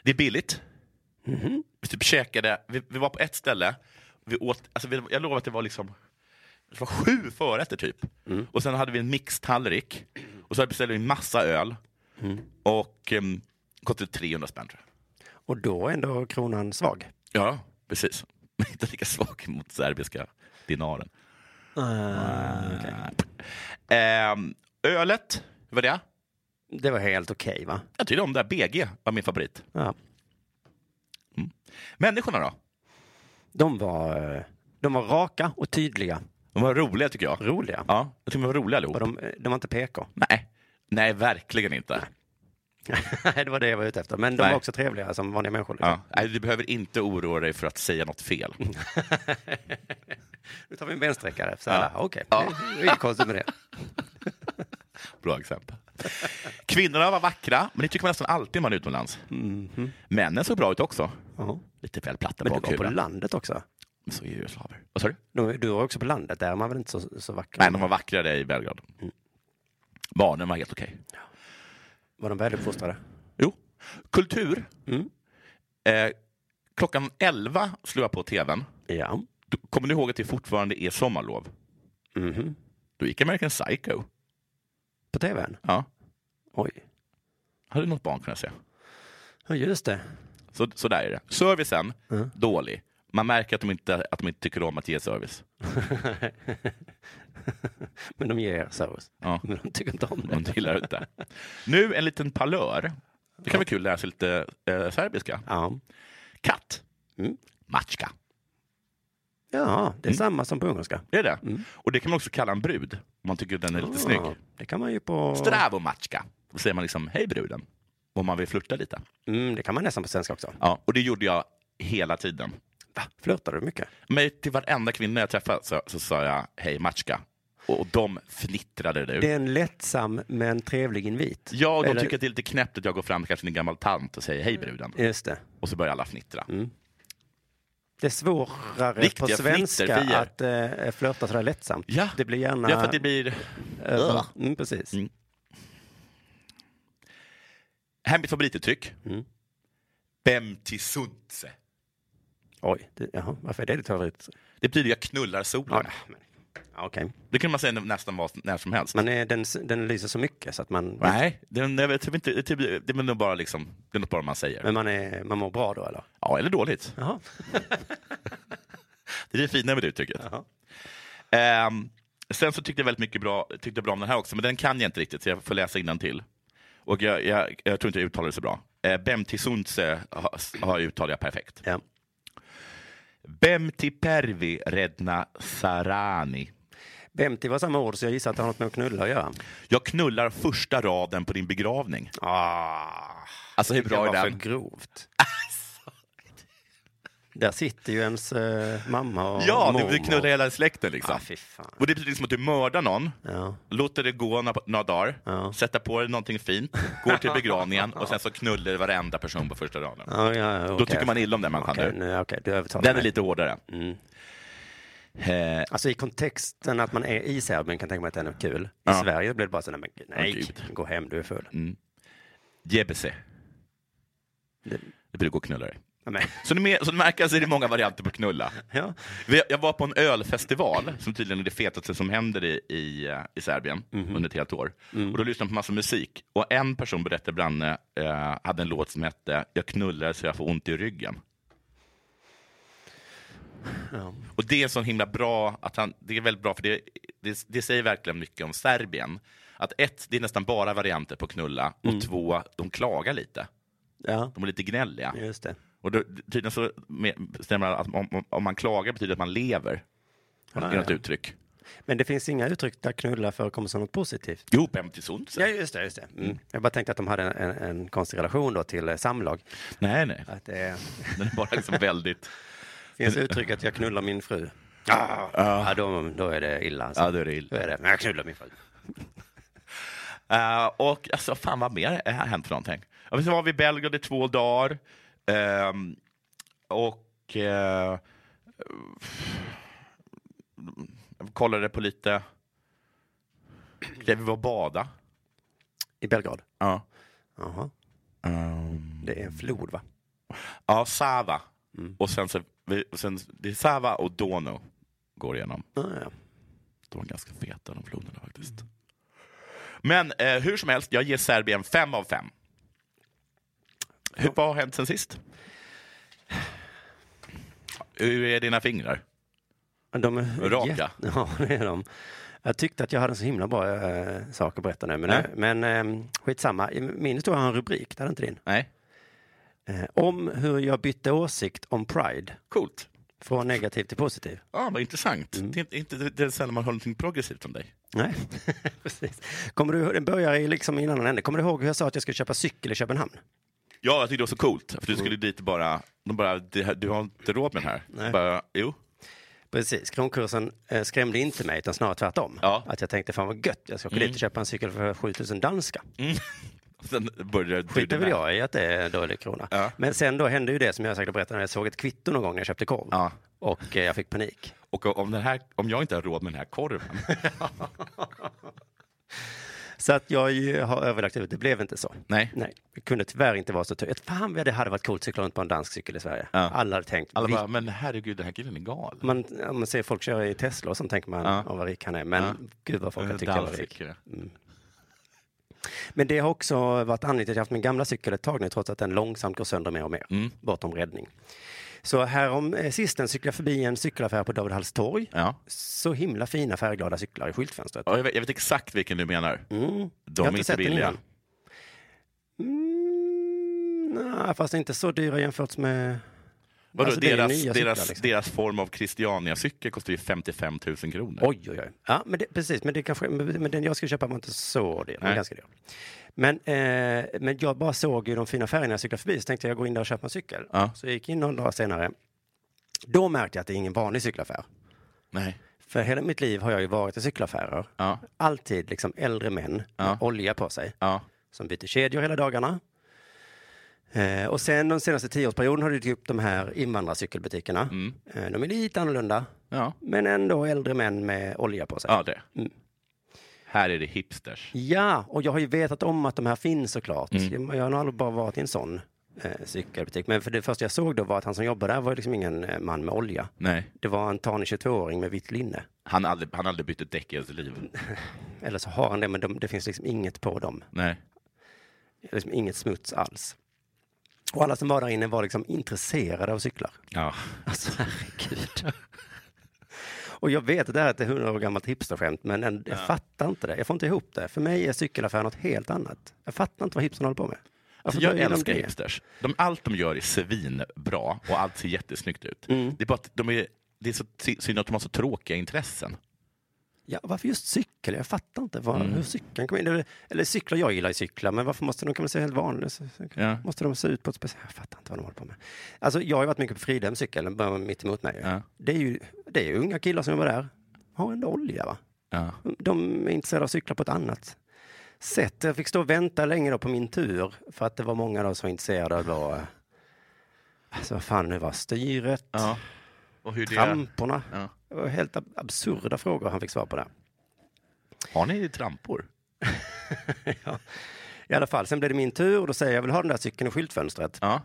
[SPEAKER 8] Det är billigt. Vi typ käkade, vi, vi var på ett ställe, vi åt, alltså vi, jag lovar att det var liksom det var sju förrätter typ. Och sen hade vi en mixtallrik. Och så beställde vi en massa öl. Och um, kostade 300 spänn tror jag.
[SPEAKER 7] Och då är ändå kronan svag.
[SPEAKER 8] Ja, precis. *laughs* Men inte lika svag mot serbiska dinaren. Ehm, ölet, vad var det?
[SPEAKER 7] Det var helt okej, va?
[SPEAKER 8] Jag tyckte om det här. BG var min favorit.
[SPEAKER 7] Ja.
[SPEAKER 8] Människorna då?
[SPEAKER 7] De var, eh, de var raka och tydliga.
[SPEAKER 8] De var roliga tycker jag.
[SPEAKER 7] Roliga.
[SPEAKER 8] Ja, jag tycker de var roliga allihop.
[SPEAKER 7] Och de, eh, de var inte PK.
[SPEAKER 8] Nej. Nej, verkligen inte.
[SPEAKER 7] *laughs* Nej, det var det jag var ute efter. Men de
[SPEAKER 8] Nej.
[SPEAKER 7] var också trevliga som vanliga människor. Liksom.
[SPEAKER 8] Ja. Nej, du behöver inte oroa dig för att säga något
[SPEAKER 7] *laughs*
[SPEAKER 8] fel.
[SPEAKER 7] Nu tar vi en bensträckare. Så
[SPEAKER 8] Ja.
[SPEAKER 7] alla, okej.
[SPEAKER 8] Ja.
[SPEAKER 7] Det är inget
[SPEAKER 8] *laughs*
[SPEAKER 7] konstigt med det.
[SPEAKER 8] Bra exempel. Kvinnorna var vackra, men det tycker man nästan alltid när man är utomlands. Männen såg bra ut också.
[SPEAKER 7] Ja.
[SPEAKER 8] Lite väl platta
[SPEAKER 7] Mhm. Men du var på
[SPEAKER 8] bakhuvudet.
[SPEAKER 7] landet också.
[SPEAKER 8] Så är ju slaver. Vad sa du?
[SPEAKER 7] Du, du var också på landet. Där är man väl inte så, så vacker?
[SPEAKER 8] Nej, de var vackrare i Belgrad.
[SPEAKER 7] Mm.
[SPEAKER 8] Barnen var helt okej.
[SPEAKER 7] Var de väluppfostrade?
[SPEAKER 8] Jo. Kultur.
[SPEAKER 7] Mm.
[SPEAKER 8] Eh, klockan 11 slår jag på tvn.
[SPEAKER 7] Ja.
[SPEAKER 8] Du, kommer du ihåg att det fortfarande är sommarlov?
[SPEAKER 7] Mhm.
[SPEAKER 8] Då gick American Psycho.
[SPEAKER 7] På tvn?
[SPEAKER 8] Ja.
[SPEAKER 7] Oj.
[SPEAKER 8] Hade något barn kunnat se.
[SPEAKER 7] Ja, just det. *laughs*
[SPEAKER 8] Så, så där är det. Servicen,
[SPEAKER 7] Mm.
[SPEAKER 8] dålig. Man märker att de, inte, att de inte tycker om att ge service.
[SPEAKER 7] Men de ger service.
[SPEAKER 8] Ja.
[SPEAKER 7] Men de tycker inte om
[SPEAKER 8] De
[SPEAKER 7] det.
[SPEAKER 8] gillar inte. Nu en liten palör. Det kan vara kul att lära sig lite eh, serbiska.
[SPEAKER 7] Ja.
[SPEAKER 8] Katt.
[SPEAKER 7] Mm.
[SPEAKER 8] Matchka.
[SPEAKER 7] ja,
[SPEAKER 8] Mm.
[SPEAKER 7] det är samma som på ungerska.
[SPEAKER 8] Det är det. Och det kan man också kalla en brud. Om man tycker den är
[SPEAKER 7] Ah.
[SPEAKER 8] lite snygg.
[SPEAKER 7] Ja, det kan man ju på...
[SPEAKER 8] Stravo matchka. Då säger man liksom hej bruden. Om man vill flirta lite.
[SPEAKER 7] Mm, det kan man nästan på svenska också.
[SPEAKER 8] Ja, och det gjorde jag hela tiden.
[SPEAKER 7] Va? Flörtar du mycket?
[SPEAKER 8] Men till varenda kvinna jag träffade så, så sa jag hej matchka. Och, och de fnittrade nu.
[SPEAKER 7] Det är en lättsam men trevlig invit.
[SPEAKER 8] Ja, och de
[SPEAKER 7] Eller- Mm.
[SPEAKER 8] tycker att det är lite knäppt att jag går fram kanske till en gammal tant och säger hej bruden.
[SPEAKER 7] Just det.
[SPEAKER 8] Och så börjar alla fnittra.
[SPEAKER 7] Mm. Det är svårare
[SPEAKER 8] Riktiga
[SPEAKER 7] på svenska
[SPEAKER 8] fnitterfier.
[SPEAKER 7] att eh, flörta sådär lättsamt.
[SPEAKER 8] Ja.
[SPEAKER 7] Det blir gärna...
[SPEAKER 8] Ja, för att det blir...
[SPEAKER 7] över... mm, precis.
[SPEAKER 8] Mm. Här är mitt favorituttryck.
[SPEAKER 7] Mm.
[SPEAKER 8] Bem till sunse.
[SPEAKER 7] Oj, det, jaha, varför är det ditt favorit?
[SPEAKER 8] Det betyder jag knullar solen.
[SPEAKER 7] Ja, men- ja, Okej,
[SPEAKER 8] Det kan man säga nästan vad, när som helst.
[SPEAKER 7] men eh, den, den lyser så mycket så att man...
[SPEAKER 8] Nej, det, nej, jag tror inte, det, typ- det är väl nog bara liksom, det är något bara man säger.
[SPEAKER 7] Men man, är, man mår bra då eller?
[SPEAKER 8] Ja, eller dåligt.
[SPEAKER 7] Jaha.
[SPEAKER 8] Det är det fina med det uttrycket.
[SPEAKER 7] Jaha.
[SPEAKER 8] Ehm, sen så tyckte jag väldigt mycket bra, tyckte jag bra om den här också, men den kan jag inte riktigt, så jag får läsa till. Och jag, jag, jag tror inte jag uttalar det så bra. Eh, Bem till sunse har, har jag uttalat perfekt.
[SPEAKER 7] Ja.
[SPEAKER 8] Bem till pervi redna sarani.
[SPEAKER 7] Bemti var samma ord så jag gissar att det har något med att knulla att göra.
[SPEAKER 8] Jag knullar första raden på din begravning.
[SPEAKER 7] Ah,
[SPEAKER 8] Alltså hur bra
[SPEAKER 7] det
[SPEAKER 8] är
[SPEAKER 7] var för
[SPEAKER 8] den? *laughs*
[SPEAKER 7] grovt. Där sitter ju ens eh, mamma och
[SPEAKER 8] Ja,
[SPEAKER 7] mormor.
[SPEAKER 8] du knullar hela släkten liksom.
[SPEAKER 7] ah, fy fan.
[SPEAKER 8] Och det betyder som att du mördar någon,
[SPEAKER 7] Ja.
[SPEAKER 8] låter det gå några, några dagar,
[SPEAKER 7] Ja.
[SPEAKER 8] sätter på dig någonting fint, går till begravningen och sen så knullar du varenda person på första raden.
[SPEAKER 7] Ja, ja, ja,
[SPEAKER 8] Då
[SPEAKER 7] okej.
[SPEAKER 8] tycker man illa om den människan.
[SPEAKER 7] Okej, Mm.
[SPEAKER 8] du.
[SPEAKER 7] nu, okej, du övertalar
[SPEAKER 8] Den är
[SPEAKER 7] mig.
[SPEAKER 8] lite hårdare. Eh,
[SPEAKER 7] Alltså i kontexten att man är i Serbien kan jag tänka mig att den är kul. I
[SPEAKER 8] Ja. typ.
[SPEAKER 7] Sverige blir det bara så, nej, men, gud,
[SPEAKER 8] Åh,
[SPEAKER 7] nej
[SPEAKER 8] gud. mm.
[SPEAKER 7] gå hem, du är full.
[SPEAKER 8] Jebese. Det blir gå och knulla dig.
[SPEAKER 7] Ja, men, *laughs*
[SPEAKER 8] Så ni, mer- så ni märker så är det många varianter på knulla.
[SPEAKER 7] ja.
[SPEAKER 8] Vi- Jag var på en ölfestival, som tydligen är det fetaste som händer i, i, eh, i Serbien
[SPEAKER 7] Mhm.
[SPEAKER 8] under ett helt år.
[SPEAKER 7] Mm.
[SPEAKER 8] Och då lyssnade jag på massa musik. Och en person berättade Branne, eh, hade en låt som hette Jag knullar så jag får ont i ryggen.
[SPEAKER 7] Ja.
[SPEAKER 8] Och det är så himla bra, att han, det är väldigt bra för det, det, det säger verkligen mycket om Serbien. Att ett, det är nästan bara varianter på knulla
[SPEAKER 7] Mm.
[SPEAKER 8] och två, de klagar lite.
[SPEAKER 7] ja,
[SPEAKER 8] De är lite gnälliga.
[SPEAKER 7] just det.
[SPEAKER 8] Och då, tydligen så med- stämmer det att om, om- om man klagar betyder det att man lever.
[SPEAKER 7] Ah,
[SPEAKER 8] I något typ-
[SPEAKER 7] ja.
[SPEAKER 8] uttryck.
[SPEAKER 7] Men det finns inga uttryck där knulla förekommer som något positivt.
[SPEAKER 8] Jo, Pemtisund.
[SPEAKER 7] Ja, just det. Just det. Mm. Jag bara tänkte att de hade en, en, en konstig relation då till eh, samlag.
[SPEAKER 8] Nej, nej.
[SPEAKER 7] Att det
[SPEAKER 8] *laughs* Den är bara *laughs* liksom väldigt...
[SPEAKER 7] finns uttrycket jag knullar min fru. Ah, ja, då, då är det illa. Alltså.
[SPEAKER 8] Ja, då är det illa.
[SPEAKER 7] Då är det, men jag knullar min fru.
[SPEAKER 8] Eh, och alltså, fan vad mer har hänt för någonting? Ja, men så var vi i Belgrad i två dagar. Ehm, och... eh, jag kollade på lite... Vi var och bada.
[SPEAKER 7] I Belgrad?
[SPEAKER 8] Ja.
[SPEAKER 7] Jaha.
[SPEAKER 8] Ehm,
[SPEAKER 7] Det är en flod, va?
[SPEAKER 8] Ja, Sava. Och sen, så, vi- och sen, det är Sava och Dono går igenom.
[SPEAKER 7] Ah, ja.
[SPEAKER 8] De var ganska feta de floderna faktiskt. Men eh, hur som helst, jag ger Serbien fem av fem. Hur, vad har hänt sen sist? Hur är dina fingrar?
[SPEAKER 7] De är
[SPEAKER 8] Raka.
[SPEAKER 7] jätte- *laughs* Ja, det är de. Jag tyckte att jag hade en så himla bra eh, sak att berätta nu, men,
[SPEAKER 8] Ja.
[SPEAKER 7] men eh, skitsamma. Min historia har en rubrik, det hade inte din.
[SPEAKER 8] Nej.
[SPEAKER 7] Eh, om hur jag bytte åsikt om Pride,
[SPEAKER 8] Coolt.
[SPEAKER 7] från negativ till positiv.
[SPEAKER 8] Ja, vad intressant.
[SPEAKER 7] Mm.
[SPEAKER 8] Det är inte, inte det är sällan man hör någonting progressivt om dig.
[SPEAKER 7] Nej, *laughs* precis. Kommer du, ihåg- den börjar i liksom i en annan ände. Kommer du ihåg hur jag sa att jag skulle köpa cykel i Köpenhamn?
[SPEAKER 8] Ja, jag tyckte det var så coolt. För du skulle dit och bara, de bara "Det här- du har inte råd med den här.
[SPEAKER 7] Mm. Nej.
[SPEAKER 8] Bara, jo.
[SPEAKER 7] Precis, kronkursen eh, skrämde inte mig utan snarare tvärtom.
[SPEAKER 8] Ja. Mm.
[SPEAKER 7] Att jag tänkte fan vad gött, jag ska åka dit och köpa en cykel för 7000 danska.
[SPEAKER 8] Sen började du
[SPEAKER 7] Skiter
[SPEAKER 8] den
[SPEAKER 7] väl
[SPEAKER 8] här.
[SPEAKER 7] jag i att det är en dålig krona.
[SPEAKER 8] Ja.
[SPEAKER 7] Men sen då hände ju det som jag säkert berättade när jag såg ett kvitto någon gång när jag köpte korv.
[SPEAKER 8] Ja.
[SPEAKER 7] Och eh, jag fick panik.
[SPEAKER 8] Och om, den här, om jag inte har råd med den här
[SPEAKER 7] *laughs*
[SPEAKER 8] korven.
[SPEAKER 7] Så att jag ju har överlagt ut, det blev inte så.
[SPEAKER 8] Nej.
[SPEAKER 7] Nej, det kunde tyvärr inte vara så tur. Fan vad det hade varit coolt att cykla runt på en dansk cykel i Sverige.
[SPEAKER 8] Ja.
[SPEAKER 7] Alla hade tänkt,
[SPEAKER 8] Alla
[SPEAKER 7] "Vi-
[SPEAKER 8] bara, men herregud, den här killen är galen.
[SPEAKER 7] man, om man ser folk köra i Tesla och sånt tänker man,
[SPEAKER 8] Ja.
[SPEAKER 7] ja. vad rik han är. Men
[SPEAKER 8] Ja. Eh,
[SPEAKER 7] gud vad folk
[SPEAKER 8] Den
[SPEAKER 7] har
[SPEAKER 8] här
[SPEAKER 7] tyckt jag var rik.
[SPEAKER 8] danscykeln.
[SPEAKER 7] Men det har också varit anledningen till att jag haft min gamla cykel ett tag nu, trots att den långsamt går sönder mer och mer,
[SPEAKER 8] Mm.
[SPEAKER 7] bortom räddning. Så härom eh, sisten cyklade jag förbi en cykelaffär på David Halls torg.
[SPEAKER 8] Ja.
[SPEAKER 7] Så himla fina färgglada cyklar i skyltfönstret.
[SPEAKER 8] Ja, jag, vet, jag vet exakt vilken du menar.
[SPEAKER 7] Mm.
[SPEAKER 8] De
[SPEAKER 7] jag
[SPEAKER 8] är inte billiga.
[SPEAKER 7] Mm, nej, fast inte så dyra jämfört med...
[SPEAKER 8] Vadå,
[SPEAKER 7] Alltså, det är
[SPEAKER 8] deras,
[SPEAKER 7] nya cyklar,
[SPEAKER 8] deras,
[SPEAKER 7] liksom.
[SPEAKER 8] deras form av Christiania-cykel kostar ju 55 000 kronor.
[SPEAKER 7] Oj, oj, oj. Ja, men det, precis, men, det kanske, men den jag skulle köpa var inte så dyr. Men,
[SPEAKER 8] Nej.
[SPEAKER 7] ganska dyr. men, eh, men jag bara såg ju de fina färgerna när jag cyklade förbi, så tänkte jag jag går in där och köper en cykel.
[SPEAKER 8] Ja.
[SPEAKER 7] Så jag gick in några dagar senare. Då märkte jag att det är ingen vanlig cykelaffär.
[SPEAKER 8] Nej.
[SPEAKER 7] För hela mitt liv har jag ju varit i cykelaffärer.
[SPEAKER 8] Ja.
[SPEAKER 7] Alltid liksom äldre män med
[SPEAKER 8] Ja.
[SPEAKER 7] olja på sig
[SPEAKER 8] Ja.
[SPEAKER 7] som byter kedjor hela dagarna. Eh, och sen de senaste tioårsperioden har det dykt upp de här invandrarcykelbutikerna.
[SPEAKER 8] Mm.
[SPEAKER 7] Eh, de är lite annorlunda,
[SPEAKER 8] Ja.
[SPEAKER 7] men ändå äldre män med olja på sig.
[SPEAKER 8] ja, det.
[SPEAKER 7] Mm.
[SPEAKER 8] Här är det hipsters.
[SPEAKER 7] Ja, och jag har ju vetat om att de här finns såklart. Jag, jag har nog aldrig bara varit i en sån eh, cykelbutik. Men för det första jag såg då var att han som jobbade där var liksom ingen eh, man med olja.
[SPEAKER 8] Nej.
[SPEAKER 7] Det var en tanig 22-åring med vitt linne.
[SPEAKER 8] Han har aldrig, han har aldrig bytt ett däck i hela sitt liv.
[SPEAKER 7] Eller så har han det, men de, det finns liksom inget på dem.
[SPEAKER 8] Nej.
[SPEAKER 7] Liksom inget smuts alls. Och alla som var där inne var liksom intresserade av cyklar.
[SPEAKER 8] Ja.
[SPEAKER 7] Alltså herregud. *laughs* Och jag vet att det här är ett 100 år gammalt hipsterskämt, men en, jag fattar inte det. Jag får inte ihop det. För mig är cykelaffär något helt annat. Jag fattar inte vad hipstern håller på med. Varför
[SPEAKER 8] jag
[SPEAKER 7] börjar de
[SPEAKER 8] älskar
[SPEAKER 7] det?
[SPEAKER 8] hipsters. De, allt de gör är svinbra och allt ser jättesnyggt ut.
[SPEAKER 7] Mm.
[SPEAKER 8] Det är bara att de är, det är så ty- synd att de har så tråkiga intressen.
[SPEAKER 7] Ja, varför just cykel? Jag fattar inte var,
[SPEAKER 8] Mm.
[SPEAKER 7] hur cykeln kommer in. Eller, eller cyklar, jag gillar ju cyklar, men varför måste de, kan man säga helt vanliga? så- så-
[SPEAKER 8] Ja.
[SPEAKER 7] Måste de se ut på ett speciellt... Jag fattar inte vad de håller på med. Alltså, jag har ju varit mycket på Fridhem cykel, den börjar mitt emot mig.
[SPEAKER 8] Ja.
[SPEAKER 7] Det, är ju, det är ju unga killar som jobbar där. Har ändå olja, va?
[SPEAKER 8] Ja.
[SPEAKER 7] de är intresserade av att cykla på ett annat sätt. Jag fick stå och vänta länge då på min tur för att det var många då som var intresserade av då, eh, alltså vad fan det var, styret,
[SPEAKER 8] ja. Och hur det
[SPEAKER 7] tramporna.
[SPEAKER 8] Ja.
[SPEAKER 7] Det var helt ab- absurda frågor han fick svar på där.
[SPEAKER 8] Har ni trampor?
[SPEAKER 7] I alla fall, sen blev det min tur och då säger jag, jag vill ha den där cykeln i skyltfönstret.
[SPEAKER 8] Ja.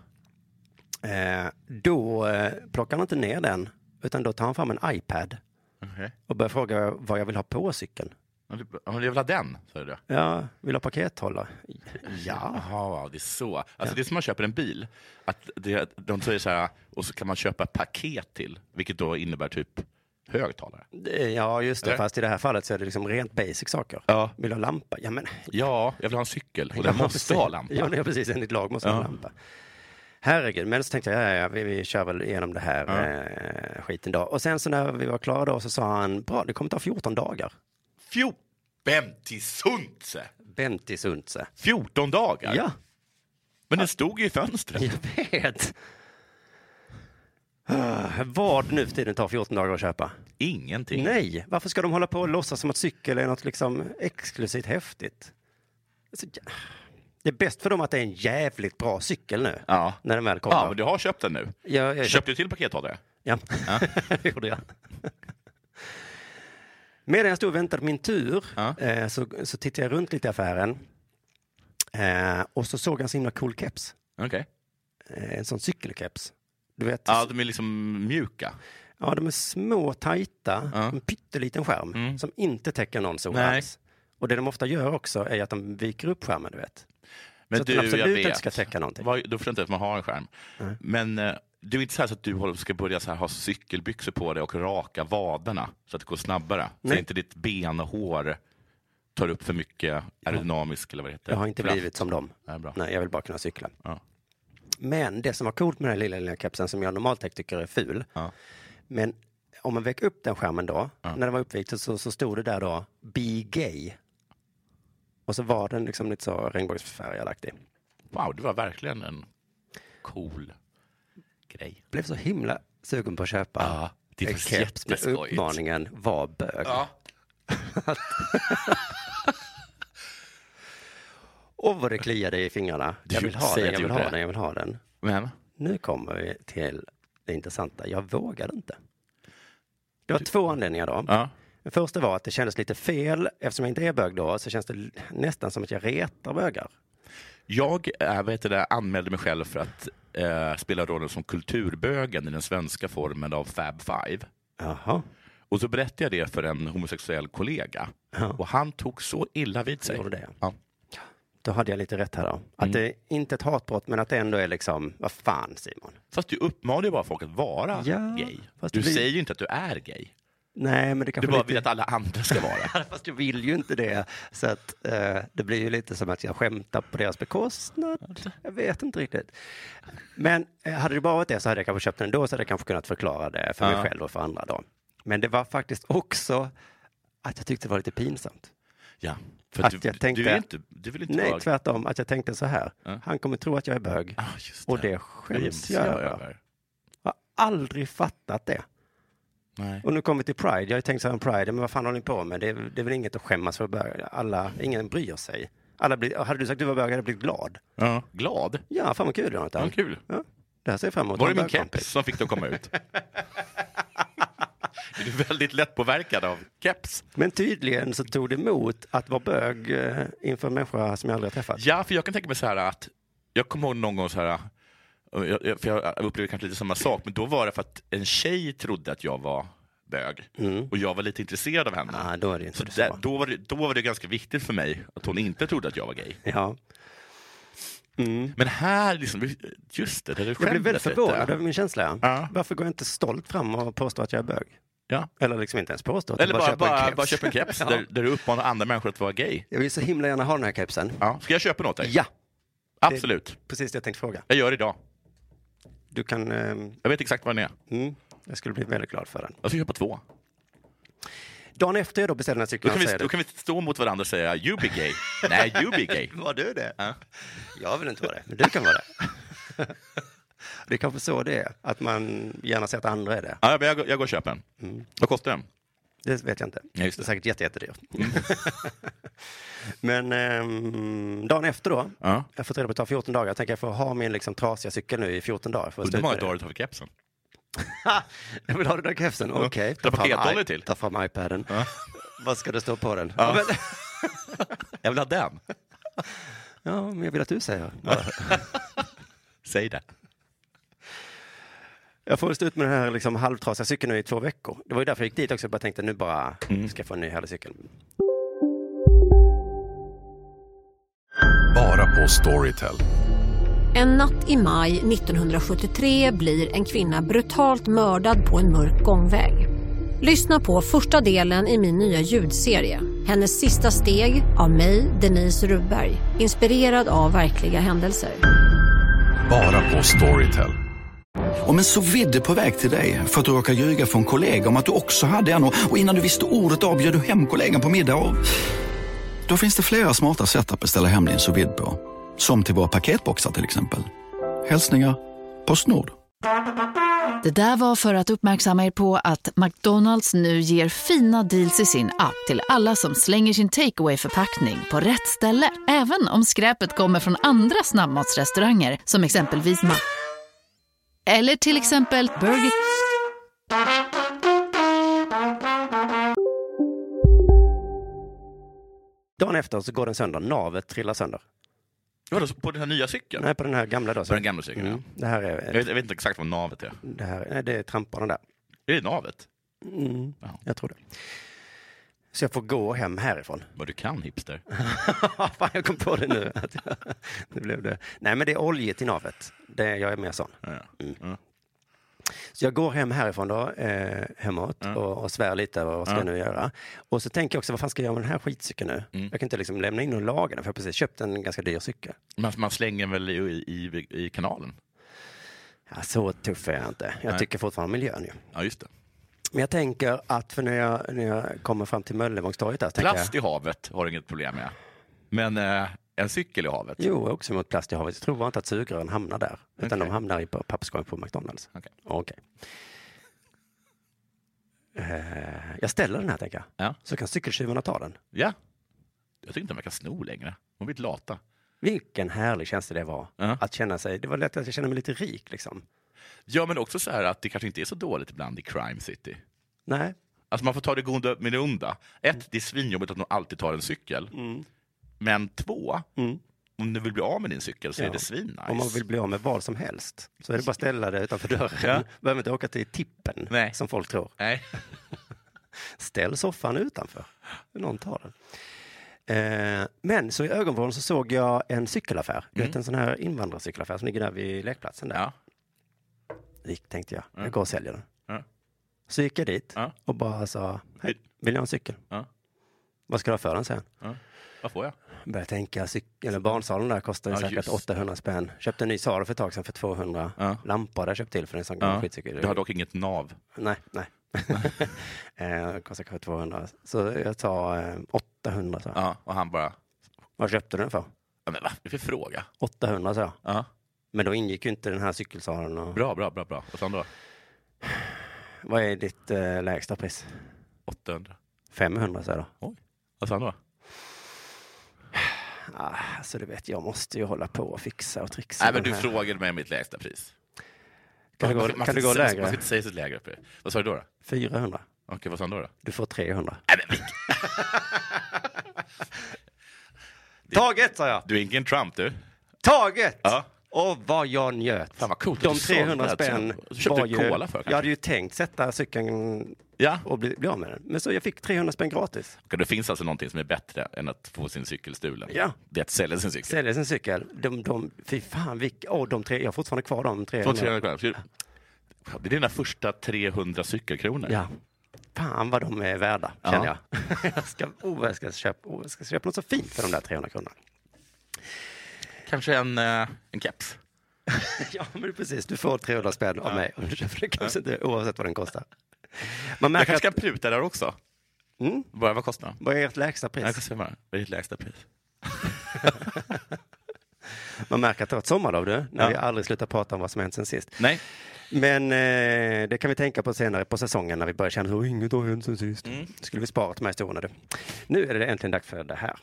[SPEAKER 7] Eh, då eh, plockar han inte ner den, utan då tar han fram en iPad
[SPEAKER 8] Okej.
[SPEAKER 7] och börjar fråga vad jag vill ha på cykeln.
[SPEAKER 8] Ja, du- ja, men Jag vill ha den, sa du då?
[SPEAKER 7] Ja, vill ha pakethållare? *laughs* Ja.
[SPEAKER 8] Jaha, det är så. Alltså Det är som man köper en bil. Att det, de säger så här, och så kan man köpa paket till, vilket då innebär typ högtalare.
[SPEAKER 7] Eh, Ja, just det.
[SPEAKER 8] Eller?
[SPEAKER 7] Fast i det här fallet så är det liksom rent basic saker.
[SPEAKER 8] Ja.
[SPEAKER 7] Vill du ha lampa? Ja, men
[SPEAKER 8] Ja, jag vill ha en cykel
[SPEAKER 7] *laughs*
[SPEAKER 8] och den
[SPEAKER 7] Ja,
[SPEAKER 8] måste
[SPEAKER 7] precis.
[SPEAKER 8] ha lampa.
[SPEAKER 7] Ja, ja, precis. Enligt lag måste ha
[SPEAKER 8] Ja.
[SPEAKER 7] lampa. Herregud, men så tänkte jag, ja, ja, vi, vi kör väl igenom det här eh, skiten då. Och sen så när vi var klara då så sa han, bra, det kommer ta 14 dagar.
[SPEAKER 8] Fjo- Bemtisuntse!
[SPEAKER 7] Benti Sundse.
[SPEAKER 8] 14 dagar?
[SPEAKER 7] Ja,
[SPEAKER 8] Men den stod ju i fönstret.
[SPEAKER 7] jag vet. Ah, Vad nu för tiden tar 14 dagar att köpa?
[SPEAKER 8] Ingenting.
[SPEAKER 7] Nej, varför ska de hålla på och låtsas som att cykel är något liksom exklusivt häftigt? Alltså, ja. Det är bäst för dem att det är en jävligt bra cykel nu,
[SPEAKER 8] Ja.
[SPEAKER 7] när den väl kommer.
[SPEAKER 8] Ja, men du har köpt den nu.
[SPEAKER 7] Jag- jag-
[SPEAKER 8] Köpte du till pakethållare?
[SPEAKER 7] Ja, det *laughs* gjorde jag. Medan jag stod och väntade på min tur
[SPEAKER 8] Ja.
[SPEAKER 7] eh, så, så tittade jag runt lite i affären. Eh, och så såg jag en så himla cool keps.
[SPEAKER 8] Okej.
[SPEAKER 7] Eh, en sån cykelkeps. Du vet,
[SPEAKER 8] Ja, de är liksom mjuka.
[SPEAKER 7] ja, de är små, tajta,
[SPEAKER 8] Ja.
[SPEAKER 7] en pytteliten skärm
[SPEAKER 8] Mm.
[SPEAKER 7] som inte täcker någon sol
[SPEAKER 8] Nej.
[SPEAKER 7] alls. Och det de ofta gör också är att de viker upp skärmen, du vet.
[SPEAKER 8] Men
[SPEAKER 7] Så att
[SPEAKER 8] du,
[SPEAKER 7] den absolut
[SPEAKER 8] jag vet.
[SPEAKER 7] inte ska täcka någonting.
[SPEAKER 8] Vad- Då förstår jag inte att man har en skärm. Men eh, det är inte så, här så att du håller- ska börja så här, ha cykelbyxor på dig och raka vaderna så att det går snabbare.
[SPEAKER 7] Nej.
[SPEAKER 8] Så inte ditt benhår tar upp för mycket aerodynamisk eller vad det heter.
[SPEAKER 7] Jag har inte
[SPEAKER 8] kraft.
[SPEAKER 7] blivit som dem.
[SPEAKER 8] Nej, bra.
[SPEAKER 7] Nej, jag vill bara kunna cykla.
[SPEAKER 8] Ja.
[SPEAKER 7] Men det som var coolt med den här lilla, lilla kepsen som jag normalt sett tycker är ful.
[SPEAKER 8] Ja.
[SPEAKER 7] Men om man väcker upp den skärmen då, när den var uppvikt så, så stod det där då, be gay. Och så var den liksom lite så regnbågsfärgad-aktig.
[SPEAKER 8] Wow, det var verkligen en cool grej.
[SPEAKER 7] Blev så himla sugen på att köpa
[SPEAKER 8] Ja, det är
[SPEAKER 7] en
[SPEAKER 8] faktiskt
[SPEAKER 7] keps med
[SPEAKER 8] jätteskojigt.
[SPEAKER 7] uppmaningen var bög.
[SPEAKER 8] Ja.
[SPEAKER 7] Och vad det kliade i fingrarna.
[SPEAKER 8] Du
[SPEAKER 7] jag vill ha
[SPEAKER 8] säger
[SPEAKER 7] den,
[SPEAKER 8] att
[SPEAKER 7] jag
[SPEAKER 8] du gjorde
[SPEAKER 7] vill ha
[SPEAKER 8] det.
[SPEAKER 7] den, jag vill ha den.
[SPEAKER 8] Men
[SPEAKER 7] Nu kommer vi till det intressanta. Jag vågade inte. Det var två anledningar då.
[SPEAKER 8] ja.
[SPEAKER 7] Den första var att det kändes lite fel. Eftersom jag inte är bög då så känns det l- nästan som att jag retar bögar.
[SPEAKER 8] Jag äh, vad heter det, anmälde mig själv för att eh, spela rollen som kulturbögen i den svenska formen av Fab Five.
[SPEAKER 7] Jaha.
[SPEAKER 8] Och så berättade jag det för en homosexuell kollega.
[SPEAKER 7] Ja.
[SPEAKER 8] Och han tog så illa vid sig.
[SPEAKER 7] Gjorde det.
[SPEAKER 8] Ja.
[SPEAKER 7] Då hade jag lite rätt här då.
[SPEAKER 8] Mm.
[SPEAKER 7] Att det är inte ett hatbrott men att det ändå är liksom, vad fan Simon.
[SPEAKER 8] Fast du uppmanar ju bara folk att vara
[SPEAKER 7] Ja,
[SPEAKER 8] gay.
[SPEAKER 7] fast
[SPEAKER 8] du
[SPEAKER 7] vi-
[SPEAKER 8] säger ju inte att du är gay.
[SPEAKER 7] Nej men det
[SPEAKER 8] Du
[SPEAKER 7] kanske
[SPEAKER 8] bara
[SPEAKER 7] lite...
[SPEAKER 8] vill att alla andra ska
[SPEAKER 7] *laughs*
[SPEAKER 8] vara.
[SPEAKER 7] Fast du vill ju inte det. Så att eh, det blir ju lite som att jag skämtar på deras bekostnad. Jag vet inte riktigt. Men eh, hade det bara varit det så hade jag kanske köpt den ändå så hade jag kanske kunnat förklara det för mig själv och för andra då. Men det var faktiskt också att jag tyckte det var lite pinsamt.
[SPEAKER 8] ja. För att
[SPEAKER 7] Att
[SPEAKER 8] du,
[SPEAKER 7] jag tänkte-
[SPEAKER 8] du, är inte, du vill inte
[SPEAKER 7] Nej,
[SPEAKER 8] vara...
[SPEAKER 7] tvärtom. Att jag tänkte så här.
[SPEAKER 8] Ja.
[SPEAKER 7] Han kommer tro att jag är bög.
[SPEAKER 8] Ah, just
[SPEAKER 7] Och det
[SPEAKER 8] Det
[SPEAKER 7] skäms
[SPEAKER 8] skäms
[SPEAKER 7] jag över. Jag har aldrig fattat det.
[SPEAKER 8] Nej.
[SPEAKER 7] Och nu kommer vi till Pride. Jag har ju tänkt så här om Pride, men vad fan håller ni på med? Det är, det är väl inget att skämmas för. bög. Alla, ingen bryr sig. Alla blir, hade du sagt att du var bög hade jag blivit glad.
[SPEAKER 8] Ja. Glad?
[SPEAKER 7] Ja, fan vad kul Jonathan.
[SPEAKER 8] Ja, kul.
[SPEAKER 7] Ja, det här ser jag fram emot.
[SPEAKER 8] Var det
[SPEAKER 7] Jag har
[SPEAKER 8] min
[SPEAKER 7] bögkompis.
[SPEAKER 8] keps som fick dig att komma
[SPEAKER 7] *laughs*
[SPEAKER 8] ut? är du väldigt lätt påverkad av keps?
[SPEAKER 7] Men tydligen så tog det emot att vara bög eh, inför en människa som jag aldrig har träffat.
[SPEAKER 8] Ja, för jag kan tänka mig så här att jag kommer ihåg någon gång så här, och jag, jag- för jag upplevde kanske lite samma sak, men då var det för att en tjej trodde att jag var bög och jag var lite intresserad av henne.
[SPEAKER 7] Mm. Ah, då är det inte
[SPEAKER 8] så
[SPEAKER 7] så.
[SPEAKER 8] där, då, var det, då var det ganska viktigt för mig att hon inte trodde att jag var gay.
[SPEAKER 7] Ja. Mm.
[SPEAKER 8] Men här, liksom, just det, det du
[SPEAKER 7] Jag blev
[SPEAKER 8] skämdes
[SPEAKER 7] väldigt
[SPEAKER 8] lite.
[SPEAKER 7] förvånad över min känsla.
[SPEAKER 8] Ja.
[SPEAKER 7] Varför går jag inte stolt fram och påstår att jag är bög?
[SPEAKER 8] Ja.
[SPEAKER 7] Eller liksom inte ens påstå. att jag
[SPEAKER 8] Eller bara,
[SPEAKER 7] köper en
[SPEAKER 8] bara,
[SPEAKER 7] keps.
[SPEAKER 8] bara köpa en keps
[SPEAKER 7] *laughs* Ja.
[SPEAKER 8] där, där du uppmanar andra människor att vara gay.
[SPEAKER 7] Jag vill så himla gärna ha den här kepsen.
[SPEAKER 8] Ja. Ska jag köpa något dig?
[SPEAKER 7] Ja,
[SPEAKER 8] Absolut.
[SPEAKER 7] precis det jag tänkte fråga.
[SPEAKER 8] Jag gör det idag.
[SPEAKER 7] Du kan... ehm,
[SPEAKER 8] Jag vet exakt vad den är.
[SPEAKER 7] Mm, jag skulle bli väldigt glad för den.
[SPEAKER 8] Jag ska köpa två.
[SPEAKER 7] Dagen efter jag då beställde den här
[SPEAKER 8] Då
[SPEAKER 7] cykeln
[SPEAKER 8] kan,
[SPEAKER 7] så
[SPEAKER 8] vi,
[SPEAKER 7] är
[SPEAKER 8] då kan vi stå mot varandra och säga you be gay. Nej, you be gay.
[SPEAKER 7] det... Var du det?
[SPEAKER 8] Ja.
[SPEAKER 7] Jag vill inte vara det, men du kan vara det. *laughs* det är kanske så det är, att man gärna ser att andra är det.
[SPEAKER 8] Ja, men jag, går- jag går och köper en. Vad kostar den?
[SPEAKER 7] Det vet jag inte.
[SPEAKER 8] Ja, just det. Mm.
[SPEAKER 7] är säkert jätte, jättedyrt. *laughs* men ehm, dagen efter då,
[SPEAKER 8] Ja.
[SPEAKER 7] jag har fått reda på att det tar 14 dagar. Jag tänker jag får ha min liksom, trasiga cykel nu i 14 dagar. För
[SPEAKER 8] Undrar
[SPEAKER 7] att
[SPEAKER 8] hur
[SPEAKER 7] sluta
[SPEAKER 8] många
[SPEAKER 7] med det.
[SPEAKER 8] dagar du tar för kepsen.
[SPEAKER 7] *laughs* Jag vill ha den där kepsen. Okej.
[SPEAKER 8] Ta
[SPEAKER 7] fram
[SPEAKER 8] pakethållare
[SPEAKER 7] i-
[SPEAKER 8] till.
[SPEAKER 7] Ta fram iPaden. Vad ska det stå på den? Ja.
[SPEAKER 8] Ja.
[SPEAKER 7] men,
[SPEAKER 8] *laughs* Jag vill ha den. *laughs*
[SPEAKER 7] ja, men jag vill att du säger. Bara.
[SPEAKER 8] Säg det.
[SPEAKER 7] Jag får stå ut med den här liksom halvtrasiga cykeln nu i två veckor. Det var ju därför jag gick dit också. Jag bara tänkte nu bara
[SPEAKER 8] Mm.
[SPEAKER 7] ska jag få en ny härlig cykel.
[SPEAKER 9] Bara på Storytel.
[SPEAKER 5] En natt i maj 1973 blir en kvinna brutalt mördad på en mörk gångväg. Lyssna på första delen i min nya ljudserie. Hennes sista steg av mig, Denise Rubberg. Inspirerad av verkliga händelser.
[SPEAKER 9] Bara på Storytel.
[SPEAKER 10] Om en så vidde på väg till dig för att du råkar ljuga från kollega om att du också hade en och och innan du visste ordet av bjöd du hem kollegan på middag och... Då finns det flera smarta sätt att beställa hem din sous vide på. Som till våra paketboxar till exempel. Hälsningar Postnord.
[SPEAKER 11] Det där var för att uppmärksamma er på att McDonalds nu ger fina deals i sin app till alla som slänger sin takeaway förpackning på rätt ställe. Även om skräpet kommer från andra snabbmatsrestauranger som exempelvis Ma... Eller till exempel Burger...
[SPEAKER 7] Dagen efter så går den sönder. Navet trillar sönder.
[SPEAKER 8] Vadå, på den här nya cykeln?
[SPEAKER 7] Nej, på den här gamla då.
[SPEAKER 8] På den gamla cykeln,
[SPEAKER 7] Mm. Det här
[SPEAKER 8] ja.
[SPEAKER 7] är...
[SPEAKER 8] Jag vet, jag vet inte exakt vad navet är.
[SPEAKER 7] Det här nej, det är trampbanan där.
[SPEAKER 8] Är det navet?
[SPEAKER 7] Mm,
[SPEAKER 8] Ja.
[SPEAKER 7] jag tror det. Så jag får gå hem härifrån. *laughs*
[SPEAKER 8] Vad du kan, hipster.
[SPEAKER 7] Fan, jag kom på det nu. att jag- *laughs* det blev det. Nej, men det är oljigt i navet. Det, jag är mer sån.
[SPEAKER 8] Ja. Mm.
[SPEAKER 7] Så jag går hem härifrån då, eh, hemåt
[SPEAKER 8] Mm.
[SPEAKER 7] och, och svär lite över vad ska jag nu göra. Och så tänker jag också, vad fan ska jag göra med den här skitcykeln nu?
[SPEAKER 8] Mm.
[SPEAKER 7] Jag kan inte liksom lämna in och laga den, för jag har precis köpt en ganska dyr cykel.
[SPEAKER 8] Man, man slänger den väl i, i, i kanalen?
[SPEAKER 7] Ja, så tuff är jag inte. Jag
[SPEAKER 8] Nej.
[SPEAKER 7] tycker fortfarande om miljön ju.
[SPEAKER 8] Ja, just det.
[SPEAKER 7] Men jag tänker att, för när jag, när jag kommer fram till Möllevångstorget där, så tänker jag,
[SPEAKER 8] Plast i havet har du inget problem med. Men eh, en cykel i havet?
[SPEAKER 7] Jo, jag är också mot plast i havet. Jag tror bara inte att sugrören hamnar där. Utan
[SPEAKER 8] Okej.
[SPEAKER 7] de hamnar i pa- papperskorgen på McDonalds.
[SPEAKER 8] Okej.
[SPEAKER 7] Okej. Eh, jag ställer den här, tänker jag.
[SPEAKER 8] Ja.
[SPEAKER 7] Så kan cykeltjuvarna ta den.
[SPEAKER 8] Ja. Jag tycker inte de verkar sno längre. De har blivit lata.
[SPEAKER 7] Vilken härlig känsla det var.
[SPEAKER 8] Ja.
[SPEAKER 7] Att känna sig, det var lätt att jag kände mig lite rik liksom.
[SPEAKER 8] Ja, men också så här att det kanske inte är så dåligt ibland i crime city.
[SPEAKER 7] Nej,
[SPEAKER 8] Alltså man får ta det goda med det onda. Ett, det är svinjobbigt att de alltid tar en cykel.
[SPEAKER 7] Mm.
[SPEAKER 8] Men två, om du vill bli av med din cykel så
[SPEAKER 7] Ja.
[SPEAKER 8] är det svinnice.
[SPEAKER 7] om man vill bli av med vad som helst så är det bara att ställa det utanför dörren.
[SPEAKER 8] Ja.
[SPEAKER 7] Behöver inte åka till tippen
[SPEAKER 8] Nej.
[SPEAKER 7] som folk tror.
[SPEAKER 8] Nej.
[SPEAKER 7] Ställ soffan utanför. Någon tar den. Eh, men så i ögonvrån så såg jag en cykelaffär. Du vet en sån här invandrarcykelaffär som ligger där vid lekplatsen. Där.
[SPEAKER 8] Mm. Ja.
[SPEAKER 7] Gick, tänkte jag. Jag går och säljer den.
[SPEAKER 8] Ja.
[SPEAKER 7] Så gick jag dit
[SPEAKER 8] Ja.
[SPEAKER 7] och bara sa, hej, vill jag ha en cykel?
[SPEAKER 8] Ja.
[SPEAKER 7] Vad ska du ha för den sen?
[SPEAKER 8] Vad får jag?
[SPEAKER 7] Började tänka, cyk- eller barnsalen där kostar ju
[SPEAKER 8] Ja,
[SPEAKER 7] säkert
[SPEAKER 8] just.
[SPEAKER 7] 800 spänn. Köpte en ny Saro för ett tag sedan för 200.
[SPEAKER 8] Ja.
[SPEAKER 7] Lampa hade jag köpt till för en sån gammal skitcykel.
[SPEAKER 8] Du har dock inget nav.
[SPEAKER 7] Nej, nej. *laughs* eh, kostar kanske 200. Så jag tar eh, 800 så. jag.
[SPEAKER 8] Ja. Och han bara,
[SPEAKER 7] Vad köpte du den för?
[SPEAKER 8] ja, men vad är det för fråga?
[SPEAKER 7] 800 så. jag.
[SPEAKER 8] Ja.
[SPEAKER 7] Men då ingick ju inte den här cykelsalen. Och...
[SPEAKER 8] Bra, bra, bra, bra. Vad sa han då?
[SPEAKER 7] Vad är ditt eh, lägsta pris?
[SPEAKER 8] 800.
[SPEAKER 7] 500 så jag då.
[SPEAKER 8] Vad sa han då?
[SPEAKER 7] Ah, så du vet, jag måste ju hålla på och fixa och trixa.
[SPEAKER 8] Nej, men
[SPEAKER 7] med
[SPEAKER 8] du
[SPEAKER 7] den här.
[SPEAKER 8] frågade mig mitt lägsta pris.
[SPEAKER 7] Kan det gå-
[SPEAKER 8] Man- man
[SPEAKER 7] kan det
[SPEAKER 8] ska
[SPEAKER 7] gå
[SPEAKER 8] inte säga- Man
[SPEAKER 7] lägre?
[SPEAKER 8] ska inte säga sitt lägre pris. Vad sa du då? då?
[SPEAKER 7] 400.
[SPEAKER 8] Okej, vad sa han då? då?
[SPEAKER 7] Du får 300.
[SPEAKER 8] Nej, men vilken-
[SPEAKER 7] Taget sa jag!
[SPEAKER 8] du är ingen Trump du.
[SPEAKER 7] Taget!
[SPEAKER 8] Ja.
[SPEAKER 7] Och vad jag njöt.
[SPEAKER 8] Fan, vad coolt att
[SPEAKER 7] De
[SPEAKER 8] du sålde
[SPEAKER 7] 300
[SPEAKER 8] den.
[SPEAKER 7] spänn
[SPEAKER 8] Så köpte
[SPEAKER 7] var
[SPEAKER 8] du
[SPEAKER 7] ju...
[SPEAKER 8] cola för, kanske?
[SPEAKER 7] jag hade ju tänkt sätta cykeln
[SPEAKER 8] Ja.
[SPEAKER 7] och bli, bli av med den. Men så jag fick 300 spänn gratis.
[SPEAKER 8] Okej, Det finns alltså någonting som är bättre än att få sin cykel stulen.
[SPEAKER 7] Ja.
[SPEAKER 8] Det är att sälja sin cykel.
[SPEAKER 7] Säljer sin cykel. De, de, fy fan, vilk, åh, de tre, jag har fortfarande kvar de 300.
[SPEAKER 8] Få 300 kronor. Ska du- Det är dina första 300 cykelkronor.
[SPEAKER 7] Ja. Fan vad de är värda,
[SPEAKER 8] Ja.
[SPEAKER 7] känner jag. *laughs* jag, ska, oh, jag, ska köpa, oh, jag ska köpa något så fint för de där 300 kronorna.
[SPEAKER 8] Kanske en, eh, en keps.
[SPEAKER 7] Ja, men precis. Du får 300 spänn av mig om du köper en kasse, inte oavsett vad den kostar. Man
[SPEAKER 8] Jag
[SPEAKER 7] märker
[SPEAKER 8] kanske
[SPEAKER 7] att,
[SPEAKER 8] kan pruta där också.
[SPEAKER 7] Mm.
[SPEAKER 8] Bara, vad kostar den?
[SPEAKER 7] vad är ert lägsta
[SPEAKER 8] Jag
[SPEAKER 7] pris?
[SPEAKER 8] kan se vad det är ditt lägsta pris.
[SPEAKER 7] Man märker att det var ett sommarlov du, när
[SPEAKER 8] Ja.
[SPEAKER 7] vi aldrig slutar prata om vad som hänt sen sist.
[SPEAKER 8] Nej,
[SPEAKER 7] Men eh, det kan vi tänka på senare på säsongen när vi börjar känna att inget har hänt sen sist.
[SPEAKER 8] Mm.
[SPEAKER 7] skulle vi spara till de här historierna du. Nu är det äntligen dags för det här.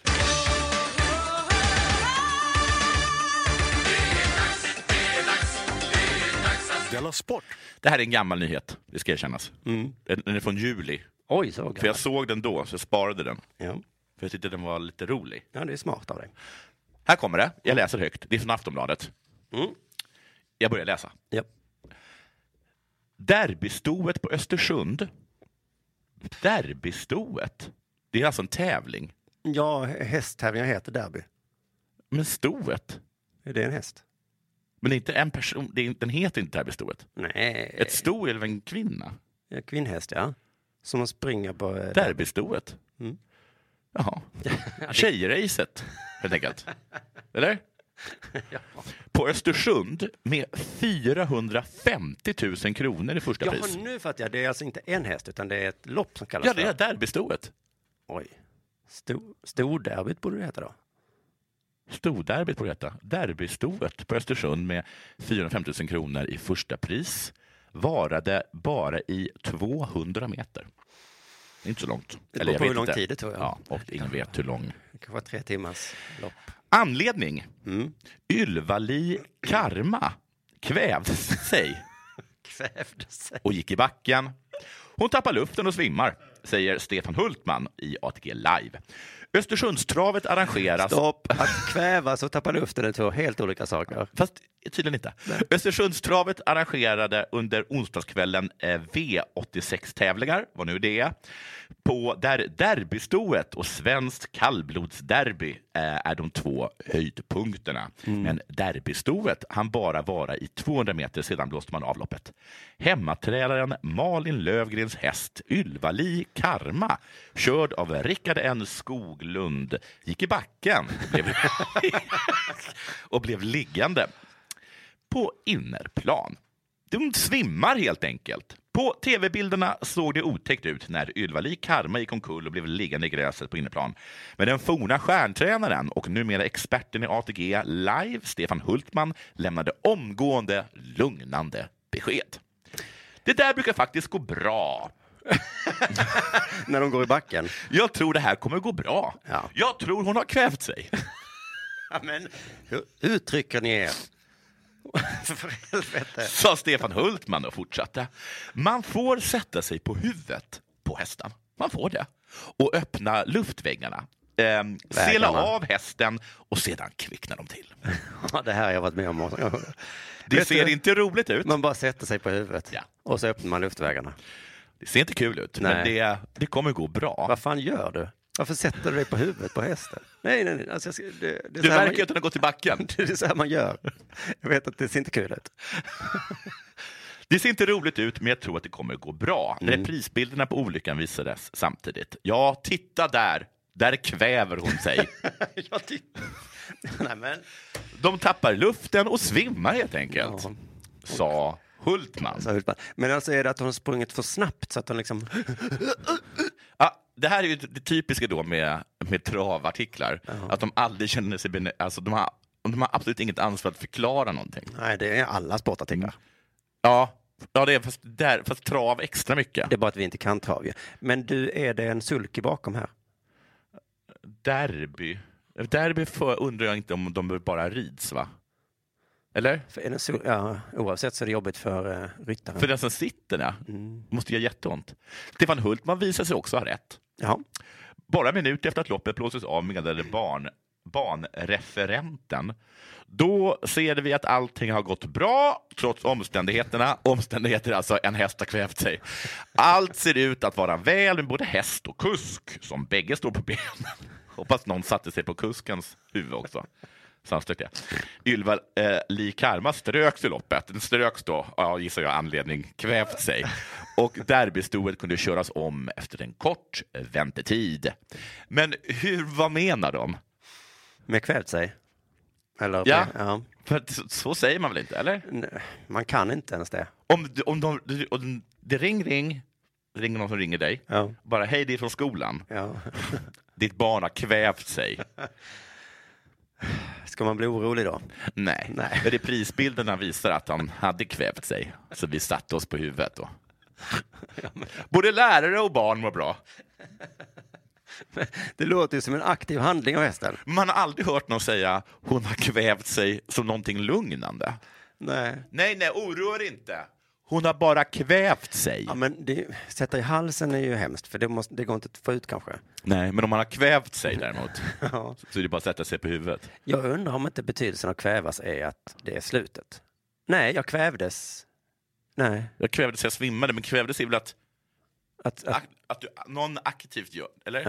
[SPEAKER 9] Della Sport.
[SPEAKER 8] det här är en gammal nyhet. Det ska erkännas.
[SPEAKER 7] Mm.
[SPEAKER 8] Den den är från juli.
[SPEAKER 7] Oj, så
[SPEAKER 8] För jag
[SPEAKER 7] gammalt.
[SPEAKER 8] såg den då, så jag sparade den.
[SPEAKER 7] Ja.
[SPEAKER 8] För jag tyckte den var lite rolig.
[SPEAKER 7] ja, det är smart av dig.
[SPEAKER 8] Här kommer det. Jag läser högt. Det är från Aftonbladet.
[SPEAKER 7] Mm.
[SPEAKER 8] Jag börjar läsa.
[SPEAKER 7] Ja.
[SPEAKER 8] Derbystoet på Östersund. Derbystoet? Det är alltså en tävling.
[SPEAKER 7] Ja, hästtävlingar heter derby.
[SPEAKER 8] Men stoet?
[SPEAKER 7] Är det en häst?
[SPEAKER 8] Men det är inte en person, det är, inte- den heter inte derbystoet.
[SPEAKER 7] Nej.
[SPEAKER 8] Ett sto är väl en kvinna?
[SPEAKER 7] Ja, kvinnhäst, ja. Som man springer på... eh,
[SPEAKER 8] Derbystoet?
[SPEAKER 7] Mm. *laughs*
[SPEAKER 8] Jaha. Tjejracet, helt enkelt.
[SPEAKER 7] *laughs*
[SPEAKER 8] Eller? På Östersund med 450 000 kronor i första
[SPEAKER 7] Jaha,
[SPEAKER 8] pris.
[SPEAKER 7] nu fattar jag. Det är alltså inte en häst, utan det är ett lopp som kallas
[SPEAKER 8] Ja, det är
[SPEAKER 7] för...
[SPEAKER 8] derbystoet.
[SPEAKER 7] Oj. Sto- Storderbyt borde det heta då.
[SPEAKER 8] Storderbyt på detta. Derbystoet på Östersund med 450 000 kronor i första pris varade bara i 200 meter. Det är Inte så långt.
[SPEAKER 7] Det
[SPEAKER 8] Eller
[SPEAKER 7] beror
[SPEAKER 8] jag
[SPEAKER 7] på
[SPEAKER 8] vet
[SPEAKER 7] hur lång
[SPEAKER 8] inte.
[SPEAKER 7] tid det tog. Mm.
[SPEAKER 8] Ja, och ingen vet hur lång.
[SPEAKER 7] Det kanske var tre timmars lopp.
[SPEAKER 8] Anledning? Ylvali Karma kvävde sig
[SPEAKER 7] Kvävde sig.
[SPEAKER 8] och gick i backen. Hon tappar luften och svimmar, säger Stefan Hultman i ATG Live. Östersundstravet arrangeras...
[SPEAKER 7] Stopp! *laughs* Att kvävas och tappa luften är två helt olika saker.
[SPEAKER 8] Fast tydligen inte. Östersundstravet arrangerade under onsdagskvällen eh, V86-tävlingar, vad nu det är, på där derbystoet och svenskt kallblodsderby eh, är de två höjdpunkterna. Men derbystoet han bara vara i 200 meter, sedan blåste man av loppet. Hemmatränaren Malin Lövgrens häst Ylvali Karma, körd av Rickard N Skoglund, gick i backen. Blev och blev liggande på innerplan. De svimmar helt enkelt. På tv-bilderna såg det otäckt ut när Ylva-Li Karma gick omkull och blev liggande i gräset på innerplan. Men den forna stjärntränaren och numera experten i ATG Live, Stefan Hultman, lämnade omgående lugnande besked. Det där brukar faktiskt gå bra.
[SPEAKER 7] När de går i backen.
[SPEAKER 8] Jag tror det här kommer gå bra. Jag tror hon har kvävt sig.
[SPEAKER 7] Men hur uttrycker ni er? *laughs* För helvete.
[SPEAKER 8] sa Stefan Hultman och fortsatte. Man får sätta sig på huvudet på hästen. Man får det. Och öppna luftväggarna. Ehm, sela av hästen och sedan kvicknar de till.
[SPEAKER 7] Ja, det här har jag varit med om många gånger.
[SPEAKER 8] Det
[SPEAKER 7] Vet
[SPEAKER 8] ser
[SPEAKER 7] du,
[SPEAKER 8] inte roligt ut.
[SPEAKER 7] Man bara sätter sig på huvudet
[SPEAKER 8] Ja.
[SPEAKER 7] och så öppnar man luftvägarna.
[SPEAKER 8] Det ser inte kul ut, men
[SPEAKER 7] Nej.
[SPEAKER 8] det, det kommer gå bra.
[SPEAKER 7] Vad fan gör du? Varför sätter du dig på huvudet på hästen? Nej, nej, nej. Alltså, jag ska- det, det är
[SPEAKER 8] Du
[SPEAKER 7] så här
[SPEAKER 8] verkar ju
[SPEAKER 7] man, *laughs*
[SPEAKER 8] inte ha gått i backen.
[SPEAKER 7] det är så här man gör. Jag vet att det ser inte kul ut.
[SPEAKER 8] Det ser inte roligt ut, men jag tror att det kommer gå bra.
[SPEAKER 7] Mm.
[SPEAKER 8] Reprisbilderna på olyckan visades samtidigt. Ja, titta där! Där kväver hon sig.
[SPEAKER 7] *laughs* Jag tycker... *laughs* Nej, men...
[SPEAKER 8] De tappar luften och svimmar helt enkelt, sa Hultman.
[SPEAKER 7] Så Hultman. Men alltså är det att hon har sprungit för snabbt så att hon liksom...
[SPEAKER 8] Ja, Ah, det här är ju det typiska då med, med travartiklar. Att de aldrig känner sig... Bene- alltså de, har, de har absolut inget ansvar att förklara någonting.
[SPEAKER 7] Nej, det är alla sportartiklar.
[SPEAKER 8] Ja, ja det är fast, där, fast trav extra mycket.
[SPEAKER 7] Det är bara att vi inte kan trav ju. Men du, är det en sulky bakom här?
[SPEAKER 8] Derby. Derby för, undrar jag inte om de bara rids, va? Eller?
[SPEAKER 7] För är det en sul... ja, oavsett så är det jobbigt för eh, ryttaren.
[SPEAKER 8] För den som sitter där måste göra jätteont. Stefan Hultman visar sig också ha rätt.
[SPEAKER 7] Ja.
[SPEAKER 8] Bara minuter efter att loppet blåses av meddelade barn, banreferenten. Då ser vi att allting har gått bra trots omständigheterna. Omständigheter alltså, en häst har kvävt sig. Allt ser ut att vara väl med både häst och kusk som bägge står på benen. Hoppas någon satte sig på kuskens huvud också. Sannolikt det. Ylva eh, Li Karma ströks i loppet. Den ströks då, ja, gissar jag, anledning kvävt sig. Och derbystoet kunde köras om efter en kort eh, väntetid. Men hur, vad menar de?
[SPEAKER 7] Med kvävt sig? Eller,
[SPEAKER 8] Ja.
[SPEAKER 7] ja.
[SPEAKER 8] För att, så, så säger man väl inte, eller?
[SPEAKER 7] Nej, Man kan inte ens det.
[SPEAKER 8] Om, du- om de, du- om det ring, ring, ringer någon som ringer dig.
[SPEAKER 7] Ja.
[SPEAKER 8] Bara, hej, det är från skolan.
[SPEAKER 7] Ja.
[SPEAKER 8] Ditt barn har kvävt sig.
[SPEAKER 7] Ska man bli orolig då?
[SPEAKER 8] Nej.
[SPEAKER 7] Nej.
[SPEAKER 8] Men reprisbilderna visar att han hade kvävt sig, så vi satte oss på huvudet. Då. Både lärare och barn mår bra.
[SPEAKER 7] Det låter ju som en aktiv handling av hästen.
[SPEAKER 8] Man har aldrig hört någon säga hon har kvävt sig som någonting lugnande.
[SPEAKER 7] Nej.
[SPEAKER 8] Nej, nej, oroa dig inte. Hon har bara kvävt sig.
[SPEAKER 7] Ja, men det, sätta i halsen är ju hemskt, för det, måste, det går inte att få ut kanske.
[SPEAKER 8] Nej, men om man har kvävt sig däremot
[SPEAKER 7] Ja.
[SPEAKER 8] så är det bara att sätta sig på huvudet.
[SPEAKER 7] Jag undrar om inte betydelsen av kvävas är att det är slutet. Nej, jag kvävdes. Nej.
[SPEAKER 8] Jag kvävdes så jag svimmade, men kvävdes är väl att, att, att, du, någon aktivt gör, eller?
[SPEAKER 7] Ja.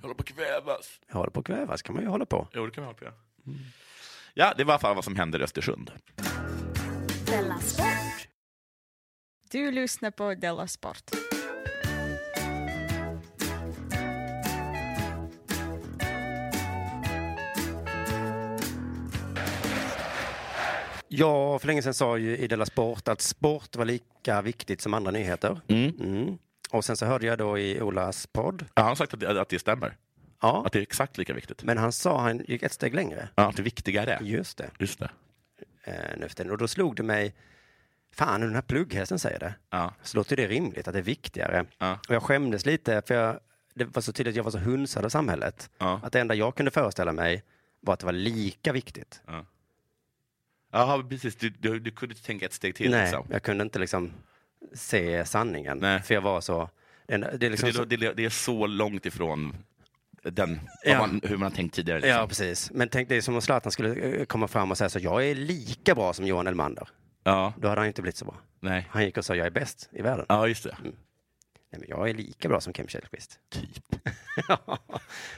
[SPEAKER 8] Jag håller på att kvävas.
[SPEAKER 7] Jag håller på att kvävas kan man ju hålla på.
[SPEAKER 8] Jo, det kan man hålla på att göra. Ja, det var i alla fall vad som hände i Östersund.
[SPEAKER 6] Della Sport.
[SPEAKER 12] Du lyssnar på Della Sport.
[SPEAKER 7] Jag för länge sedan sa ju i Della Sport att sport var lika viktigt som andra nyheter. Mm. Och sen så hörde jag då i Olas podd.
[SPEAKER 8] Ja, han har sagt att det, att det stämmer.
[SPEAKER 7] Ja.
[SPEAKER 8] Att det är exakt lika viktigt.
[SPEAKER 7] Men han sa, han gick ett steg längre.
[SPEAKER 8] Ja, att det viktigare är.
[SPEAKER 7] Just det.
[SPEAKER 8] Just det.
[SPEAKER 7] Eh, nu för tiden. Och då slog det mig, fan hur den här plugghästen säger det. Så låter det rimligt att det är viktigare. Och jag skämdes lite för jag, det var så tydligt att jag var så hunsad av samhället. Att det enda jag kunde föreställa mig var att det var lika viktigt.
[SPEAKER 8] Jaha, precis. Du, du, du kunde inte tänka ett steg till.
[SPEAKER 7] Nej,
[SPEAKER 8] liksom.
[SPEAKER 7] jag kunde inte liksom se sanningen. För jag var så... Det, det är liksom
[SPEAKER 8] det,
[SPEAKER 7] så-
[SPEAKER 8] det, det är så långt ifrån den,
[SPEAKER 7] Ja.
[SPEAKER 8] vad man, hur man har tänkt tidigare. Liksom.
[SPEAKER 7] Ja, precis. Men tänk dig som om Zlatan skulle eh, komma fram och säga så, jag är lika bra som Johan Elmander.
[SPEAKER 8] Ja.
[SPEAKER 7] Då hade han ju inte blivit så bra.
[SPEAKER 8] Nej.
[SPEAKER 7] Han gick och sa, jag är bäst i världen.
[SPEAKER 8] Ja, just det.
[SPEAKER 7] Mm. Nej, men jag är lika bra som Kim Källqvist. Typ. *laughs*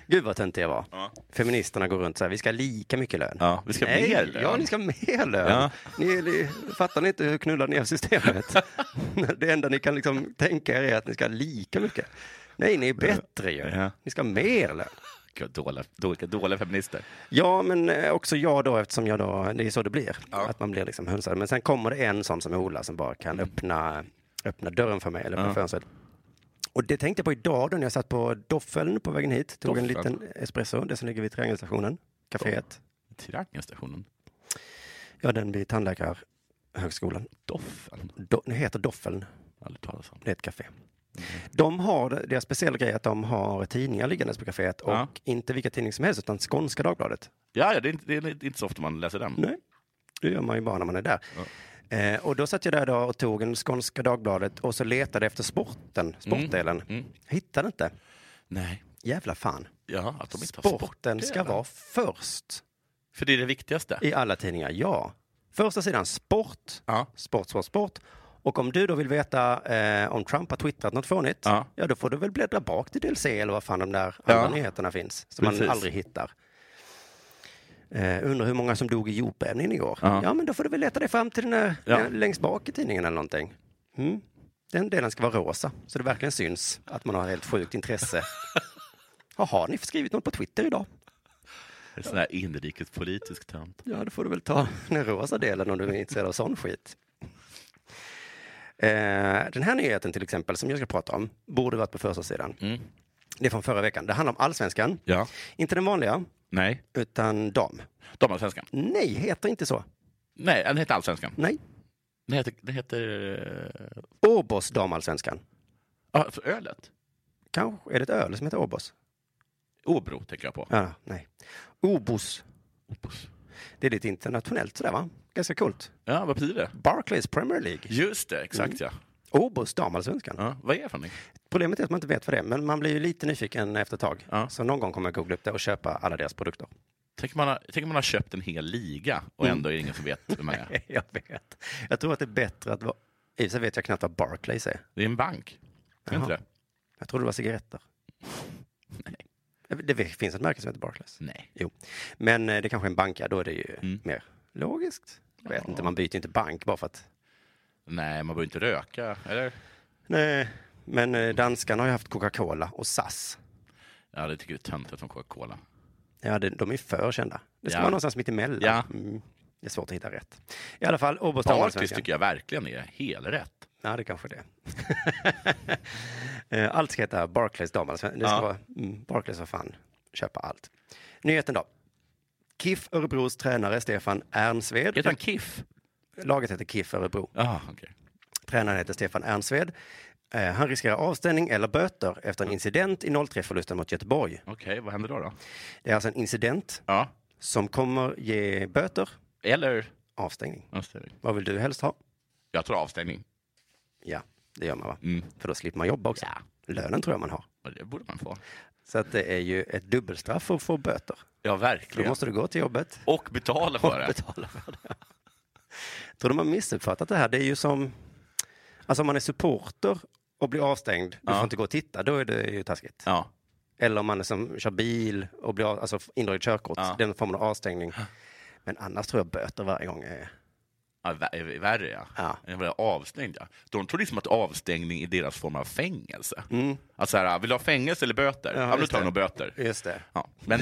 [SPEAKER 7] Gud vad töntig jag var. Feministerna går runt så här, vi ska ha lika mycket lön.
[SPEAKER 8] Ja, vi ska ha
[SPEAKER 7] Nej,
[SPEAKER 8] mer lön.
[SPEAKER 7] Ja, ni ska ha mer lön.
[SPEAKER 8] Ja.
[SPEAKER 7] Ni, är li- fattar ni inte hur knullade ni är
[SPEAKER 8] *laughs*
[SPEAKER 7] av systemet? det enda ni kan liksom tänka er är att ni ska ha lika mycket. Nej, ni är bättre ju. Ni ska ha mer lön.
[SPEAKER 8] Gud, dåliga, dåliga, dåliga feminister.
[SPEAKER 7] Ja, men eh, också jag då, eftersom jag då, det är så det blir. Att man blir liksom hunsad. Men sen kommer det en sån som Ola som bara kan öppna, öppna dörren för mig, eller öppna
[SPEAKER 8] Mm. Ja.
[SPEAKER 7] fönstret. Och det tänkte jag på idag då när jag satt på Doffeln på vägen hit. Tog en
[SPEAKER 8] Doffeln?
[SPEAKER 7] liten espresso, det som ligger vid triangelstationen, kaféet.
[SPEAKER 8] Triangelstationen?
[SPEAKER 7] Ja, den vid Tandläkarhögskolan.
[SPEAKER 8] Doffeln?
[SPEAKER 7] Do, det heter Doffeln.
[SPEAKER 8] Aldrig talas om.
[SPEAKER 7] Det är ett café. De har, deras speciella grej är att de har tidningar liggandes på kaféet och
[SPEAKER 8] Ja.
[SPEAKER 7] inte vilka tidningar som helst utan Skånska Dagbladet.
[SPEAKER 8] Ja, ja det, är inte, det är inte så ofta man läser den.
[SPEAKER 7] Nej, det gör man ju bara när man är där. Eh, och då satt jag där då och tog en Skånska Dagbladet och så letade efter
[SPEAKER 8] Mm.
[SPEAKER 7] sporten, sportdelen. Hittade inte.
[SPEAKER 8] Nej.
[SPEAKER 7] Jävla fan.
[SPEAKER 8] Ja, att de inte har
[SPEAKER 7] sporten ska
[SPEAKER 8] sportdelen.
[SPEAKER 7] vara först.
[SPEAKER 8] För det är det viktigaste.
[SPEAKER 7] I alla tidningar, ja. Första sidan sport, sport, sport, sport. Och om du då vill veta eh, om Trump har twittrat något fånigt, ja. då får du väl bläddra bak till del C eller vad fan de där andra
[SPEAKER 8] Ja.
[SPEAKER 7] nyheterna finns, som
[SPEAKER 8] Precis.
[SPEAKER 7] man aldrig hittar. Eh, undrar hur många som dog i jordbävningen igår?
[SPEAKER 8] Ja.
[SPEAKER 7] Ja. men då får du väl leta dig fram till den där,
[SPEAKER 8] Ja.
[SPEAKER 7] där längst bak i tidningen eller någonting. Mm. Den delen ska vara rosa, så det verkligen syns att man har ett helt
[SPEAKER 8] *laughs*
[SPEAKER 7] sjukt intresse. Jaha, har ni skrivit något på Twitter idag?
[SPEAKER 8] En sån här inrikespolitisk tönt.
[SPEAKER 7] Ja, då får du väl ta den rosa delen om du är intresserad av sån skit. Eh, Den här nyheten till exempel, som jag ska prata om, borde varit på första sidan.
[SPEAKER 8] Mm.
[SPEAKER 7] Det är från förra veckan. Det handlar om allsvenskan.
[SPEAKER 8] Ja.
[SPEAKER 7] Inte den vanliga,
[SPEAKER 8] Nej.
[SPEAKER 7] utan dam.
[SPEAKER 8] Damallsvenskan?
[SPEAKER 7] Nej, heter inte så.
[SPEAKER 8] Nej, den heter Allsvenskan.
[SPEAKER 7] Nej.
[SPEAKER 8] Den heter... Den heter eh,
[SPEAKER 7] Åbos damallsvenskan.
[SPEAKER 8] ja, för ölet?
[SPEAKER 7] Kanske är det ett öl som heter Åbos?
[SPEAKER 8] Åbro tänker jag på.
[SPEAKER 7] Ja, nej. Obos. Det är lite internationellt sådär va? Ganska coolt.
[SPEAKER 8] Ja, vad betyder det?
[SPEAKER 7] Barclays Premier League.
[SPEAKER 8] Just det,
[SPEAKER 7] Mm.
[SPEAKER 8] exakt ja.
[SPEAKER 7] Åbos damallsvenskan.
[SPEAKER 8] ja. Vad är det för någonting?
[SPEAKER 7] Problemet är att man inte vet vad det är, men man blir ju lite nyfiken efter ett tag. Så någon gång kommer jag googla upp det och köpa alla deras produkter. *laughs*
[SPEAKER 8] Tänk om man har, tänk om man har köpt en hel liga och
[SPEAKER 7] Mm.
[SPEAKER 8] ändå är det ingen som vet vem man är.
[SPEAKER 7] jag vet. Jag tror att det är bättre att vara... I och för sig vet jag knappt vad Barclays är.
[SPEAKER 8] Det är en bank. Är det inte
[SPEAKER 7] Jaha.
[SPEAKER 8] det?
[SPEAKER 7] Jag trodde det var cigaretter. Nej. Det finns ett märke som heter Barclays.
[SPEAKER 8] Nej.
[SPEAKER 7] Jo. Men eh, det kanske är en bank, ja, då är det ju
[SPEAKER 8] Mm.
[SPEAKER 7] mer logiskt. Jag vet inte, man byter ju inte bank bara för att...
[SPEAKER 8] Nej, man behöver inte röka, eller?
[SPEAKER 7] Nej. Men eh, danskarna har ju haft Coca-Cola och SAS.
[SPEAKER 8] Ja, det tycker jag är töntigt från Coca-Cola.
[SPEAKER 7] Ja, det, de är för kända. Det ska
[SPEAKER 8] Ja.
[SPEAKER 7] vara någonstans mitt emellan.
[SPEAKER 8] Ja.
[SPEAKER 7] Mm. Det är svårt att hitta rätt. I alla fall, Åbos
[SPEAKER 8] Barclays
[SPEAKER 7] damallsvenskan.
[SPEAKER 8] tycker jag verkligen är helrätt.
[SPEAKER 7] Ja, det kanske det är. *laughs* Eh, allt ska heta Barclays damallsvenskan. Det ska
[SPEAKER 8] Ja.
[SPEAKER 7] vara mm, Barclays, vad fan, köpa allt. Nyheten då. KIF Örebros tränare Stefan Ernsved.
[SPEAKER 8] Heter han KIF?
[SPEAKER 7] Laget heter KIF Örebro.
[SPEAKER 8] Ah, okej.
[SPEAKER 7] Tränaren heter Stefan Ernsved. Eh, han riskerar avstängning eller böter efter en incident i 0-3-förlusten mot Göteborg.
[SPEAKER 8] Okej, vad händer då? då?
[SPEAKER 7] Det är alltså en incident som kommer ge böter
[SPEAKER 8] Eller?
[SPEAKER 7] avstängning.
[SPEAKER 8] Avstängning.
[SPEAKER 7] Vad vill du helst ha?
[SPEAKER 8] Jag tror avstängning.
[SPEAKER 7] Ja, det gör man va? För då slipper man jobba också. Lönen tror jag man har.
[SPEAKER 8] Och det borde man få.
[SPEAKER 7] Så att det är ju ett dubbelstraff för att få böter.
[SPEAKER 8] Ja,
[SPEAKER 7] För då
[SPEAKER 8] verkligen.
[SPEAKER 7] måste du gå till jobbet.
[SPEAKER 8] Och
[SPEAKER 7] *laughs*
[SPEAKER 8] betala för det.
[SPEAKER 7] Betala för det. Tror de har missuppfattat det här. Det är ju som Alltså om man är supporter och blir avstängd, du
[SPEAKER 8] Ja.
[SPEAKER 7] får inte gå och titta, då är det ju taskigt. Eller om man liksom kör bil och blir av, alltså indraget körkort, den formen av avstängning. Men annars tror jag böter varje gång är...
[SPEAKER 8] Ja, vär- värre ja. Jag blev avstängd ja. De tror liksom att avstängning är deras form av fängelse. Alltså här, vill du ha fängelse eller böter? Ja, men då
[SPEAKER 7] Mm. just
[SPEAKER 8] tar
[SPEAKER 7] det.
[SPEAKER 8] nog böter.
[SPEAKER 7] Just det.
[SPEAKER 8] Ja,
[SPEAKER 7] *laughs*
[SPEAKER 8] men...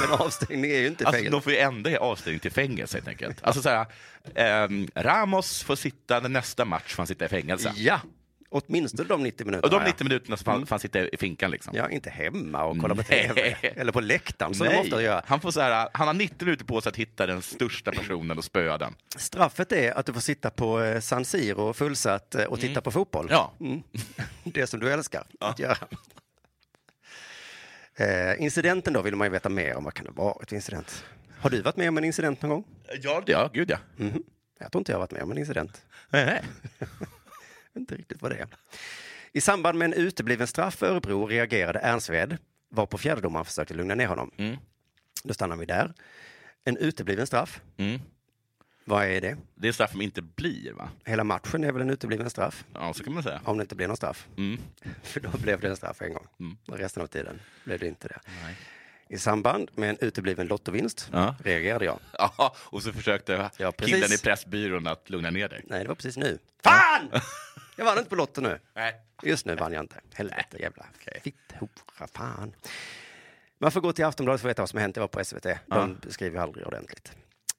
[SPEAKER 7] men avstängning är ju inte
[SPEAKER 8] alltså,
[SPEAKER 7] fängelse.
[SPEAKER 8] De får ju ändra avstängning till fängelse helt enkelt. Alltså så här, ehm, Ramos får sitta, den nästa match får han sitta i fängelse.
[SPEAKER 7] Ja, åtminstone de 90 minuterna.
[SPEAKER 8] Och de
[SPEAKER 7] ja. Mm.
[SPEAKER 8] 90 minuterna så får han, får han sitta i finkan liksom.
[SPEAKER 7] Ja, inte hemma och kolla på TV. Eller på läktaren som de
[SPEAKER 8] Nej.
[SPEAKER 7] ofta gör.
[SPEAKER 8] Han, får så här, han har 90 minuter på sig att hitta den största personen och spöa den.
[SPEAKER 7] Straffet är att du får sitta på eh, San Siro fullsatt eh, och titta
[SPEAKER 8] Mm.
[SPEAKER 7] på fotboll.
[SPEAKER 8] Ja.
[SPEAKER 7] Mm. *laughs* Det som du älskar att göra. *laughs* Eh, incidenten då vill man ju veta mer om. Vad kan det vara ett incident? Har du varit med om en incident någon gång?
[SPEAKER 8] Ja, ja gud ja.
[SPEAKER 7] Mhm. Jag tror inte jag har varit med om en incident.
[SPEAKER 8] Nej.
[SPEAKER 7] *laughs* inte riktigt vad det är. I samband med en utebliven straff för Örebro reagerade Ernstved, var på fjärdedomaren försökte lugna ner honom.
[SPEAKER 8] Mm.
[SPEAKER 7] Då stannar vi där. En utebliven straff. Vad är det?
[SPEAKER 8] Mm. Det är straff som inte blir va?
[SPEAKER 7] Hela matchen är väl en utebliven straff?
[SPEAKER 8] Ja, så kan man säga. Mm.
[SPEAKER 7] Om det inte blir någon straff. *laughs* För då blev det en straff en gång. Och resten av tiden blev det inte det. I samband med en utebliven lottovinst reagerade jag.
[SPEAKER 8] *laughs* Ja, och så försökte
[SPEAKER 7] precis.
[SPEAKER 8] killen i Pressbyrån att lugna ner dig.
[SPEAKER 7] Nej, det var precis nu. Fan!
[SPEAKER 8] *laughs*
[SPEAKER 7] Jag vann inte på Lotto nu.
[SPEAKER 8] Nej.
[SPEAKER 7] Just nu vann jag inte. Helvete jävla fitthora, fan. Man får gå till Aftonbladet för att veta vad som hänt. Jag var på SVT. De
[SPEAKER 8] Ja.
[SPEAKER 7] beskriver aldrig ordentligt.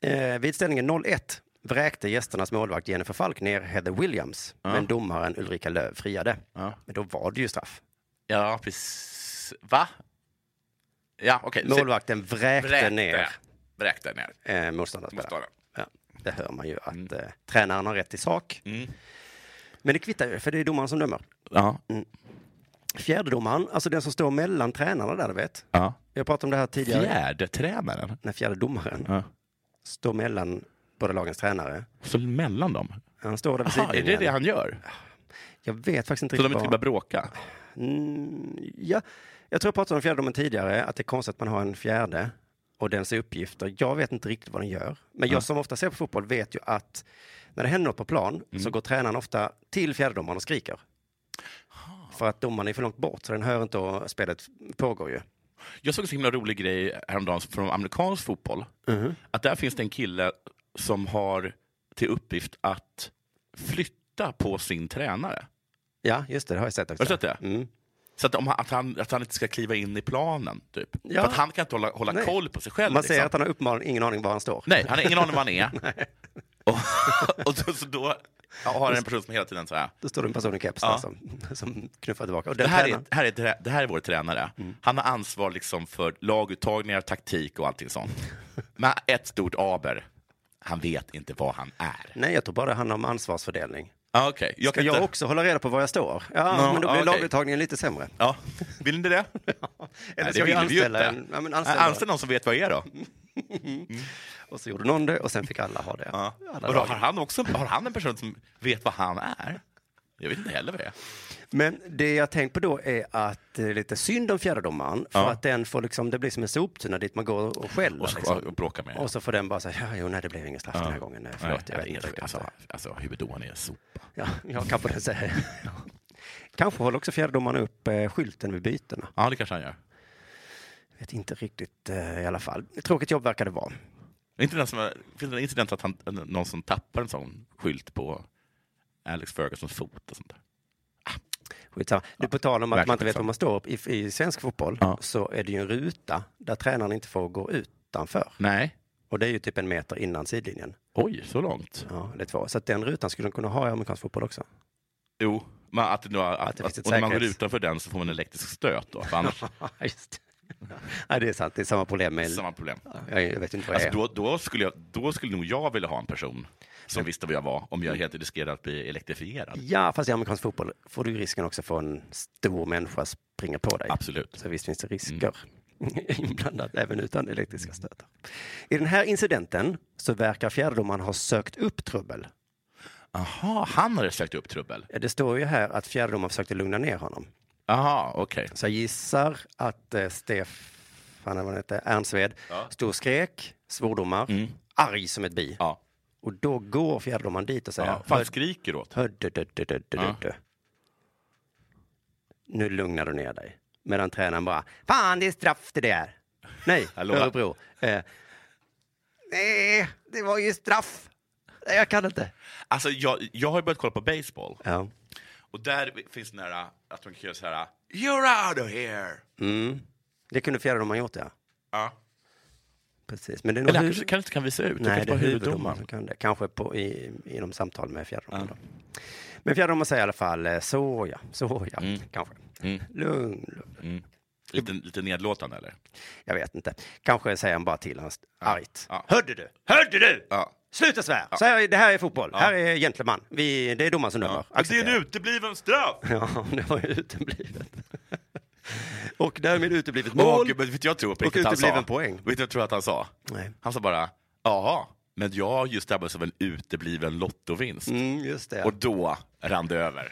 [SPEAKER 7] Eh, vid ställningen 0-1 vräkte gästernas målvakt Jennifer Falk ner Heather Williams,
[SPEAKER 8] Ja.
[SPEAKER 7] men domaren Ulrika Löv friade.
[SPEAKER 8] Ja.
[SPEAKER 7] Men då var det ju straff.
[SPEAKER 8] Ja, precis. Va? Ja, okej.
[SPEAKER 7] Målvakten vräkte, ner
[SPEAKER 8] Vräkte ner.
[SPEAKER 7] eh, motståndarspelaren.
[SPEAKER 8] Motståndaren. Mm.
[SPEAKER 7] Ja, det hör man ju att eh, tränaren har rätt i sak. Men det kvittar ju, för det är domaren som dömer.
[SPEAKER 8] Ja.
[SPEAKER 7] Mm. Fjärdedomaren, alltså den som står mellan tränarna där, du vet.
[SPEAKER 8] ja.
[SPEAKER 7] Jag pratade om det här tidigare.
[SPEAKER 8] Fjärde tränaren?
[SPEAKER 7] När fjärde domaren
[SPEAKER 8] Ja.
[SPEAKER 7] står mellan båda lagens tränare.
[SPEAKER 8] Så mellan dem?
[SPEAKER 7] Han står där vid
[SPEAKER 8] Aha, är det
[SPEAKER 7] sidlinjen.
[SPEAKER 8] det han gör?
[SPEAKER 7] Jag vet faktiskt inte
[SPEAKER 8] Så de inte
[SPEAKER 7] vad-
[SPEAKER 8] vill bara bråka?
[SPEAKER 7] Mm, ja. Jag tror jag pratade om fjärdedomen tidigare, att det är konstigt att man har en fjärde och den ser uppgifter. Jag vet inte riktigt vad den gör. Men
[SPEAKER 8] Ja.
[SPEAKER 7] jag som ofta ser på fotboll vet ju att när det händer något på plan
[SPEAKER 8] Mm.
[SPEAKER 7] så går tränaren ofta till fjärdedomaren och skriker.
[SPEAKER 8] Ah.
[SPEAKER 7] För att domaren är för långt bort, så den hör inte och spelet pågår ju.
[SPEAKER 8] Jag såg en så himla rolig grej häromdagen från amerikansk fotboll. Att där finns det en kille som har till uppgift att flytta på sin tränare.
[SPEAKER 7] Ja, just det, det har jag sett också. Mm.
[SPEAKER 8] Har du sett det? Så att, om han, att, han, att han inte ska kliva in i planen, typ.
[SPEAKER 7] Ja.
[SPEAKER 8] För att han kan inte hålla, hålla
[SPEAKER 7] Nej.
[SPEAKER 8] koll på sig själv.
[SPEAKER 7] Man ser
[SPEAKER 8] liksom.
[SPEAKER 7] att han har uppenbarligen ingen aning var han står.
[SPEAKER 8] Nej, han har ingen aning om vad han
[SPEAKER 7] *laughs*
[SPEAKER 8] är. och och då, så då har han en person som hela tiden så här.
[SPEAKER 7] Då står det en person i keps
[SPEAKER 8] Ja.
[SPEAKER 7] där som, *laughs* som knuffar tillbaka. Och
[SPEAKER 8] Det
[SPEAKER 7] den
[SPEAKER 8] här, är,
[SPEAKER 7] tränaren-
[SPEAKER 8] här är, trä- det här är vår tränare. Han har ansvar liksom för laguttagningar, taktik och allting sånt.
[SPEAKER 7] *laughs*
[SPEAKER 8] Men ett stort aber. Han vet inte vad han är.
[SPEAKER 7] Nej, jag tror bara det handlar om ansvarsfördelning.
[SPEAKER 8] Ah, okay.
[SPEAKER 7] Ska jag också hålla reda på var jag står? Ja,
[SPEAKER 8] Nå,
[SPEAKER 7] men då
[SPEAKER 8] ja,
[SPEAKER 7] blir
[SPEAKER 8] okej.
[SPEAKER 7] laguttagningen lite *laughs* sämre.
[SPEAKER 8] Ja, vill ni det?
[SPEAKER 7] Eller
[SPEAKER 8] Nej,
[SPEAKER 7] ska vi
[SPEAKER 8] vill vi ju
[SPEAKER 7] anställa
[SPEAKER 8] inte.
[SPEAKER 7] en? Ja, men
[SPEAKER 8] Anställ,
[SPEAKER 7] anställ någon.
[SPEAKER 8] någon som vet vad jag är då.
[SPEAKER 7] Och så gjorde någon det och sen fick alla ha det.
[SPEAKER 8] Ja.
[SPEAKER 7] Alla
[SPEAKER 8] Och då
[SPEAKER 7] lag.
[SPEAKER 8] har, han också, har han en person som vet vad han är? Jag vet inte heller vad det är.
[SPEAKER 7] Men det jag tänkt på då är att det är lite synd om fjärdedomaren för
[SPEAKER 8] Ja.
[SPEAKER 7] att den får liksom, det blir som en soptunna dit man går och skäller.
[SPEAKER 8] Och, ska,
[SPEAKER 7] liksom.
[SPEAKER 8] och bråka med.
[SPEAKER 7] och så får den bara säga, ja, jo, nej, det blev ingen straff den här gången. Nej, Förlåt, jag vet
[SPEAKER 8] Nej,
[SPEAKER 7] inte. riktigt.
[SPEAKER 8] Alltså, alltså huvuddomaren är en sopa.
[SPEAKER 7] Ja, ja kanske den *laughs* säger. kanske håller också fjärdedomaren upp eh, skylten vid bytena.
[SPEAKER 8] Ja, det kanske han gör.
[SPEAKER 7] Vet inte riktigt eh, i alla fall. Tråkigt jobb verkar det vara.
[SPEAKER 8] Inte den som, är- finns det en incident att han, någon som tappar en sån skylt på Alex Fergusons fot och sånt där?
[SPEAKER 7] Skitsamma. Du, på tal om att
[SPEAKER 8] verkligen
[SPEAKER 7] man inte vet var
[SPEAKER 8] skitsamma.
[SPEAKER 7] man står upp, i, i svensk fotboll så är det ju en ruta där tränaren inte får gå utanför.
[SPEAKER 8] Nej.
[SPEAKER 7] Och det är ju typ en meter innan sidlinjen.
[SPEAKER 8] Oj, så långt?
[SPEAKER 7] Ja, eller två. Så att den rutan skulle de kunna ha i amerikansk
[SPEAKER 8] *laughs*
[SPEAKER 7] fotboll också.
[SPEAKER 8] Jo, men att, nu, att, att,
[SPEAKER 7] det finns ett
[SPEAKER 8] och när man går
[SPEAKER 7] säkerhets-
[SPEAKER 8] utanför den så får man en elektrisk stöt då. För annars,
[SPEAKER 7] Just det. Nej, det är sant. Det är samma problem med...
[SPEAKER 8] samma problem.
[SPEAKER 7] Jag jag vet inte vad det
[SPEAKER 8] Alltså,
[SPEAKER 7] är.
[SPEAKER 8] då, då, skulle jag, då skulle nog jag vilja ha en person som visste vad jag var om jag helt riskerade att bli elektrifierad.
[SPEAKER 7] Ja, fast i amerikansk fotboll får du ju risken också för en stor människa springa på dig.
[SPEAKER 8] Absolut. Mm.
[SPEAKER 7] Så visst finns det risker *laughs* inblandat, även utan elektriska stötar. I den här incidenten så verkar fjärdedomaren ha sökt upp trubbel.
[SPEAKER 8] Aha, han hade sökt upp trubbel?
[SPEAKER 7] Det står ju här att fjärdedomaren försökte lugna ner honom.
[SPEAKER 8] Aha, okej.
[SPEAKER 7] Så jag gissar att eh,
[SPEAKER 8] Mm.
[SPEAKER 7] Stefan, eller vad han heter, Ernstved, stod och skrek, svordomar, arg som ett bi. Och då går fjäderdomaren dit och säger...
[SPEAKER 8] Ja, för han
[SPEAKER 7] "Hör-
[SPEAKER 8] skriker åt.
[SPEAKER 7] Hör, du, du, du, du, du,
[SPEAKER 8] Ja.
[SPEAKER 7] du. Nu lugnar du ner dig. Medan tränaren bara, fan det är straff det där. Nej,
[SPEAKER 8] *laughs* Hallå?
[SPEAKER 7] Örebro. Eh, Nej, det var ju straff. Nej, jag kan inte.
[SPEAKER 8] Alltså, jag, jag har ju börjat kolla på baseball.
[SPEAKER 7] Ja.
[SPEAKER 8] Och där finns den där att de kan göra så här... You're out of here!
[SPEAKER 7] Mm. Det kunde fjäderdomaren gjort, ja.
[SPEAKER 8] Ja.
[SPEAKER 7] Precis. Men det är
[SPEAKER 8] Eller han
[SPEAKER 7] nog
[SPEAKER 8] kanske- kanske inte kan visa ut, det kanske
[SPEAKER 7] Nej, det är
[SPEAKER 8] bara är
[SPEAKER 7] huvuddomaren
[SPEAKER 8] huvuddomaren.
[SPEAKER 7] som kan det. Kanske på, i, i de samtal med fjäderdomaren. då. Men fjäderdomaren säger i alla fall, eh, så ja, så ja,
[SPEAKER 8] Mm.
[SPEAKER 7] kanske. Lugn, lugn.
[SPEAKER 8] Lite, lite nedlåtande, eller?
[SPEAKER 7] Jag vet inte. Kanske säger han bara till honom argt.
[SPEAKER 8] Ja.
[SPEAKER 7] Hörde du? Hörde du?
[SPEAKER 8] Ja.
[SPEAKER 7] Sluta svär!
[SPEAKER 8] Ja.
[SPEAKER 7] Så här, är- det här är fotboll.
[SPEAKER 8] Ja.
[SPEAKER 7] Här är gentleman. Vi, det är domaren som dömer.
[SPEAKER 8] Men det är en
[SPEAKER 7] Acceptera.
[SPEAKER 8] utebliven straff!
[SPEAKER 7] *laughs* Ja, det var ju uteblivet. *laughs* och därmed uteblivet
[SPEAKER 8] Åh,
[SPEAKER 7] mål.
[SPEAKER 8] gud, men vet du vad jag tror på
[SPEAKER 7] Och
[SPEAKER 8] riktigt han sa?
[SPEAKER 7] utebliven poäng.
[SPEAKER 8] Vet du vad jag tror att han sa?
[SPEAKER 7] Nej.
[SPEAKER 8] Han sa bara, jaha, men jag har just drabbats av en utebliven lottovinst.
[SPEAKER 7] Mm, just det. *laughs*
[SPEAKER 8] Och då rann det över.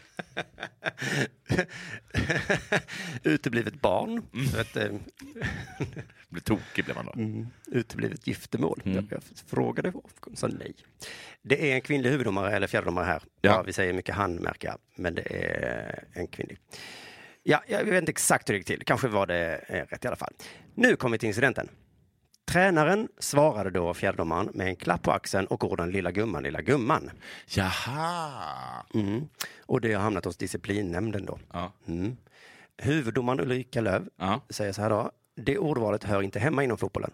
[SPEAKER 7] uteblivet barn.
[SPEAKER 8] Mm.
[SPEAKER 7] Så att, eh,
[SPEAKER 8] Blev tokig blev han då.
[SPEAKER 7] Mm. uteblivet giftermål. Jag, jag frågade och sa nej. Det är en kvinnlig huvuddomare eller fjärdedomare här. Ja. vi säger mycket han märker jag, men det är en kvinnlig. Ja, jag vet inte exakt hur det gick till. Kanske var det eh, rätt i alla fall. Nu kommer vi till incidenten. Tränaren svarade då fjärdedomaren med en klapp på axeln och orden lilla gumman, lilla gumman.
[SPEAKER 8] Jaha!
[SPEAKER 7] Mm. Och det har hamnat hos disciplinnämnden då.
[SPEAKER 8] Ja.
[SPEAKER 7] Mm. Huvuddomaren Ulrika Löv
[SPEAKER 8] Ja.
[SPEAKER 7] säger så här då. Det ordvalet hör inte hemma inom fotbollen.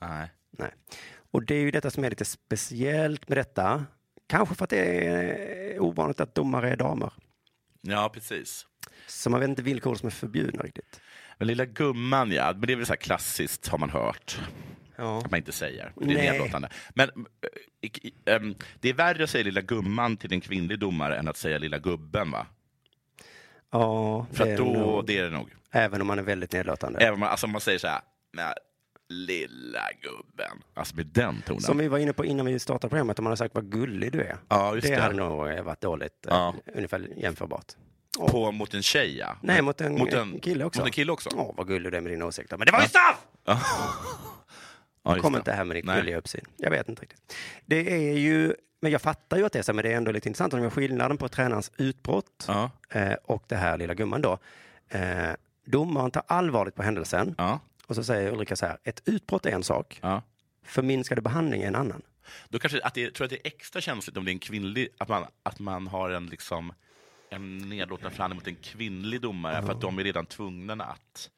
[SPEAKER 8] Nej.
[SPEAKER 7] Nej. Och det är ju detta som är lite speciellt med detta. Kanske för att det är ovanligt att domare är damer.
[SPEAKER 8] Ja, precis.
[SPEAKER 7] Så man vet inte vilka ord som är förbjudna riktigt.
[SPEAKER 8] Men lilla gumman ja, men det är väl så här klassiskt har man hört.
[SPEAKER 7] Ja.
[SPEAKER 8] Att man inte säger. Det är
[SPEAKER 7] Nej.
[SPEAKER 8] nedlåtande. Men eh, i- i- ehm, det är värre att säga lilla gumman till en kvinnlig domare än att säga lilla gubben va?
[SPEAKER 7] Ja,
[SPEAKER 8] För
[SPEAKER 7] det är
[SPEAKER 8] att då,
[SPEAKER 7] nog-
[SPEAKER 8] det är det nog.
[SPEAKER 7] Även om man är väldigt nedlåtande.
[SPEAKER 8] Även om man, alltså om man säger så här, "Men, lilla gubben. Alltså med den tonen.
[SPEAKER 7] Som vi var inne på innan vi startade programmet, om man har sagt vad gullig du är.
[SPEAKER 8] Ja, just
[SPEAKER 7] det,
[SPEAKER 8] det.
[SPEAKER 7] hade nog eh, varit dåligt. eh,
[SPEAKER 8] Ja.
[SPEAKER 7] Ungefär jämförbart.
[SPEAKER 8] På, mot en tjej ja.
[SPEAKER 7] Nej, mot en,
[SPEAKER 8] mot en
[SPEAKER 7] kille också.
[SPEAKER 8] Mot en kille också.
[SPEAKER 7] Åh, vad gullig du är med dina åsikter. Men det var ju straff!
[SPEAKER 8] Ja, just
[SPEAKER 7] Kom
[SPEAKER 8] det.
[SPEAKER 7] inte här med ditt
[SPEAKER 8] Nej.
[SPEAKER 7] gulliga uppsyn. Jag vet inte riktigt. Det är ju, men jag fattar ju att det är så, men det är ändå lite intressant. Om jag skillnaden på tränarens utbrott
[SPEAKER 8] Ja.
[SPEAKER 7] eh, och det här lilla gumman då. Eh, domaren tar allvarligt på händelsen
[SPEAKER 8] Ja.
[SPEAKER 7] och så säger Ulrika så här, ett utbrott är en sak,
[SPEAKER 8] Ja.
[SPEAKER 7] förminskade behandling är en annan.
[SPEAKER 8] Då kanske att det, tror jag att det är extra känsligt om det är en kvinnlig, att man, att man har en liksom en nedlåtande förhandling mot en kvinnlig domare för att de är redan tvungna att,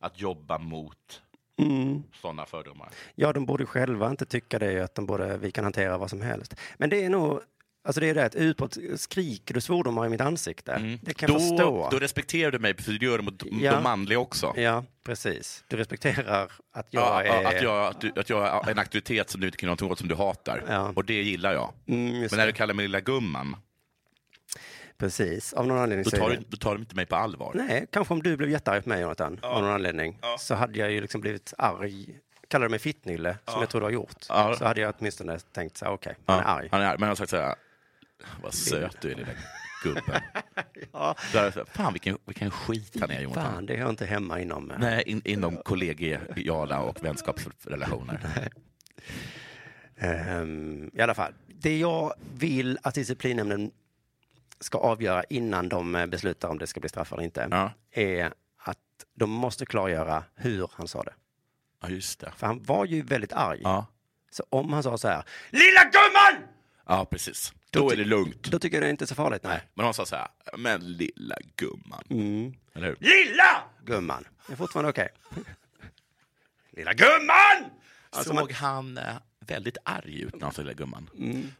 [SPEAKER 8] att jobba mot
[SPEAKER 7] Mm.
[SPEAKER 8] sådana fördomar.
[SPEAKER 7] Ja, de borde själva inte tycka det, att de borde, vi kan hantera vad som helst. Men det är nog, alltså det är det, ett utbrott skriker du svordomar i mitt ansikte. Det kan
[SPEAKER 8] Mm. då,
[SPEAKER 7] jag förstå.
[SPEAKER 8] då respekterar du mig, för du gör det mot de-
[SPEAKER 7] Ja.
[SPEAKER 8] de manliga också.
[SPEAKER 7] Ja, precis. Du respekterar att jag
[SPEAKER 8] Ja,
[SPEAKER 7] är...
[SPEAKER 8] Att, jag, att, du, att jag är en auktoritet som du inte kan göra något åt, som du hatar.
[SPEAKER 7] Ja.
[SPEAKER 8] Och det gillar jag.
[SPEAKER 7] Mm, just
[SPEAKER 8] Men när
[SPEAKER 7] det.
[SPEAKER 8] du kallar mig lilla gumman,
[SPEAKER 7] Precis, av någon anledning
[SPEAKER 8] då
[SPEAKER 7] så är
[SPEAKER 8] tar,
[SPEAKER 7] det-
[SPEAKER 8] du, då tar de inte mig på allvar.
[SPEAKER 7] Nej, kanske om du blev jättearg på mig Jonathan, av någon anledning, så hade jag ju liksom blivit arg. Kallar du mig fittnylle, som jag tror du har gjort,
[SPEAKER 8] Ja.
[SPEAKER 7] så hade jag åtminstone tänkt så här, okej,
[SPEAKER 8] Ja,
[SPEAKER 7] han är arg.
[SPEAKER 8] Han är arg. Men han har sagt så här, vad söt du är lilla gubben.
[SPEAKER 7] *laughs* Ja.
[SPEAKER 8] Då har jag sagt, Fan vilken, vilken skit han är Jonathan.
[SPEAKER 7] Fan, det hör inte hemma inom... eh,
[SPEAKER 8] Nej, in, inom kollegiala och
[SPEAKER 7] *laughs*
[SPEAKER 8] vänskapsrelationer.
[SPEAKER 7] ehm, I alla fall, det jag vill att disciplinnämnden ska avgöra innan de eh, beslutar om det ska bli straff eller inte,
[SPEAKER 8] Ja.
[SPEAKER 7] är att de måste klargöra hur han sa det.
[SPEAKER 8] Ja, just det.
[SPEAKER 7] För han var ju väldigt arg.
[SPEAKER 8] Ja,
[SPEAKER 7] Så om han sa så här, lilla gumman!
[SPEAKER 8] ja precis. Då är det lugnt.
[SPEAKER 7] Då tycker jag det är inte så farligt. Nej.
[SPEAKER 8] Men han sa så här, men lilla gumman.
[SPEAKER 7] Mm.
[SPEAKER 8] Eller hur?
[SPEAKER 7] Lilla gumman. Det är fortfarande okej. *laughs* Lilla gumman! Alltså,
[SPEAKER 8] såg
[SPEAKER 7] man- Mm.
[SPEAKER 8] han eh, väldigt arg ut när han sa lilla gumman?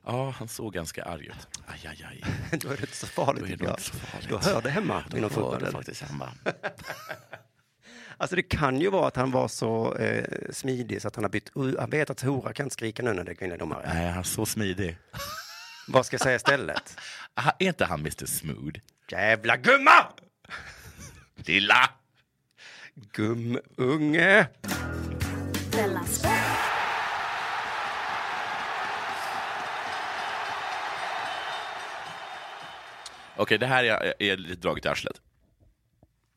[SPEAKER 8] Ja, han såg ganska arg ut. Aj, aj, aj.
[SPEAKER 7] *laughs* Då är det inte så farligt.
[SPEAKER 8] Då är det
[SPEAKER 7] tycker jag.
[SPEAKER 8] inte så farligt.
[SPEAKER 7] Då hör det hemma
[SPEAKER 8] Då
[SPEAKER 7] inom
[SPEAKER 8] hör det
[SPEAKER 7] fotbollen.
[SPEAKER 8] faktiskt hemma.
[SPEAKER 7] Alltså det kan ju vara att han var så eh, smidig så att han har bytt... Uh, han vet att hora kan skrika nu när det är kvinnliga domare.
[SPEAKER 8] Nej, han är så smidig.
[SPEAKER 7] Vad ska jag säga istället?
[SPEAKER 8] Ah, Är inte han Mr Smooth?
[SPEAKER 7] *laughs* Jävla gumma!
[SPEAKER 8] Lilla!
[SPEAKER 7] Gumunge!
[SPEAKER 6] Della Sport.
[SPEAKER 8] Okej, det här är, är lite draget i arslet.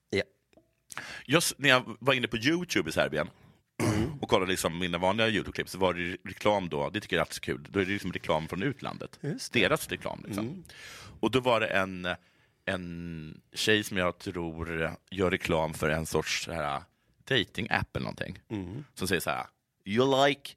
[SPEAKER 7] Ja.
[SPEAKER 8] Just när jag var inne på Youtube i Serbien och och kollar liksom mina vanliga YouTube-klipp så var det reklam då, det tycker jag är alltid så kul, då är det liksom reklam från utlandet. Deras reklam. Liksom. Och då var det en, en tjej som jag tror gör reklam för en sorts så här, dating-app eller någonting. Som säger så här, you like...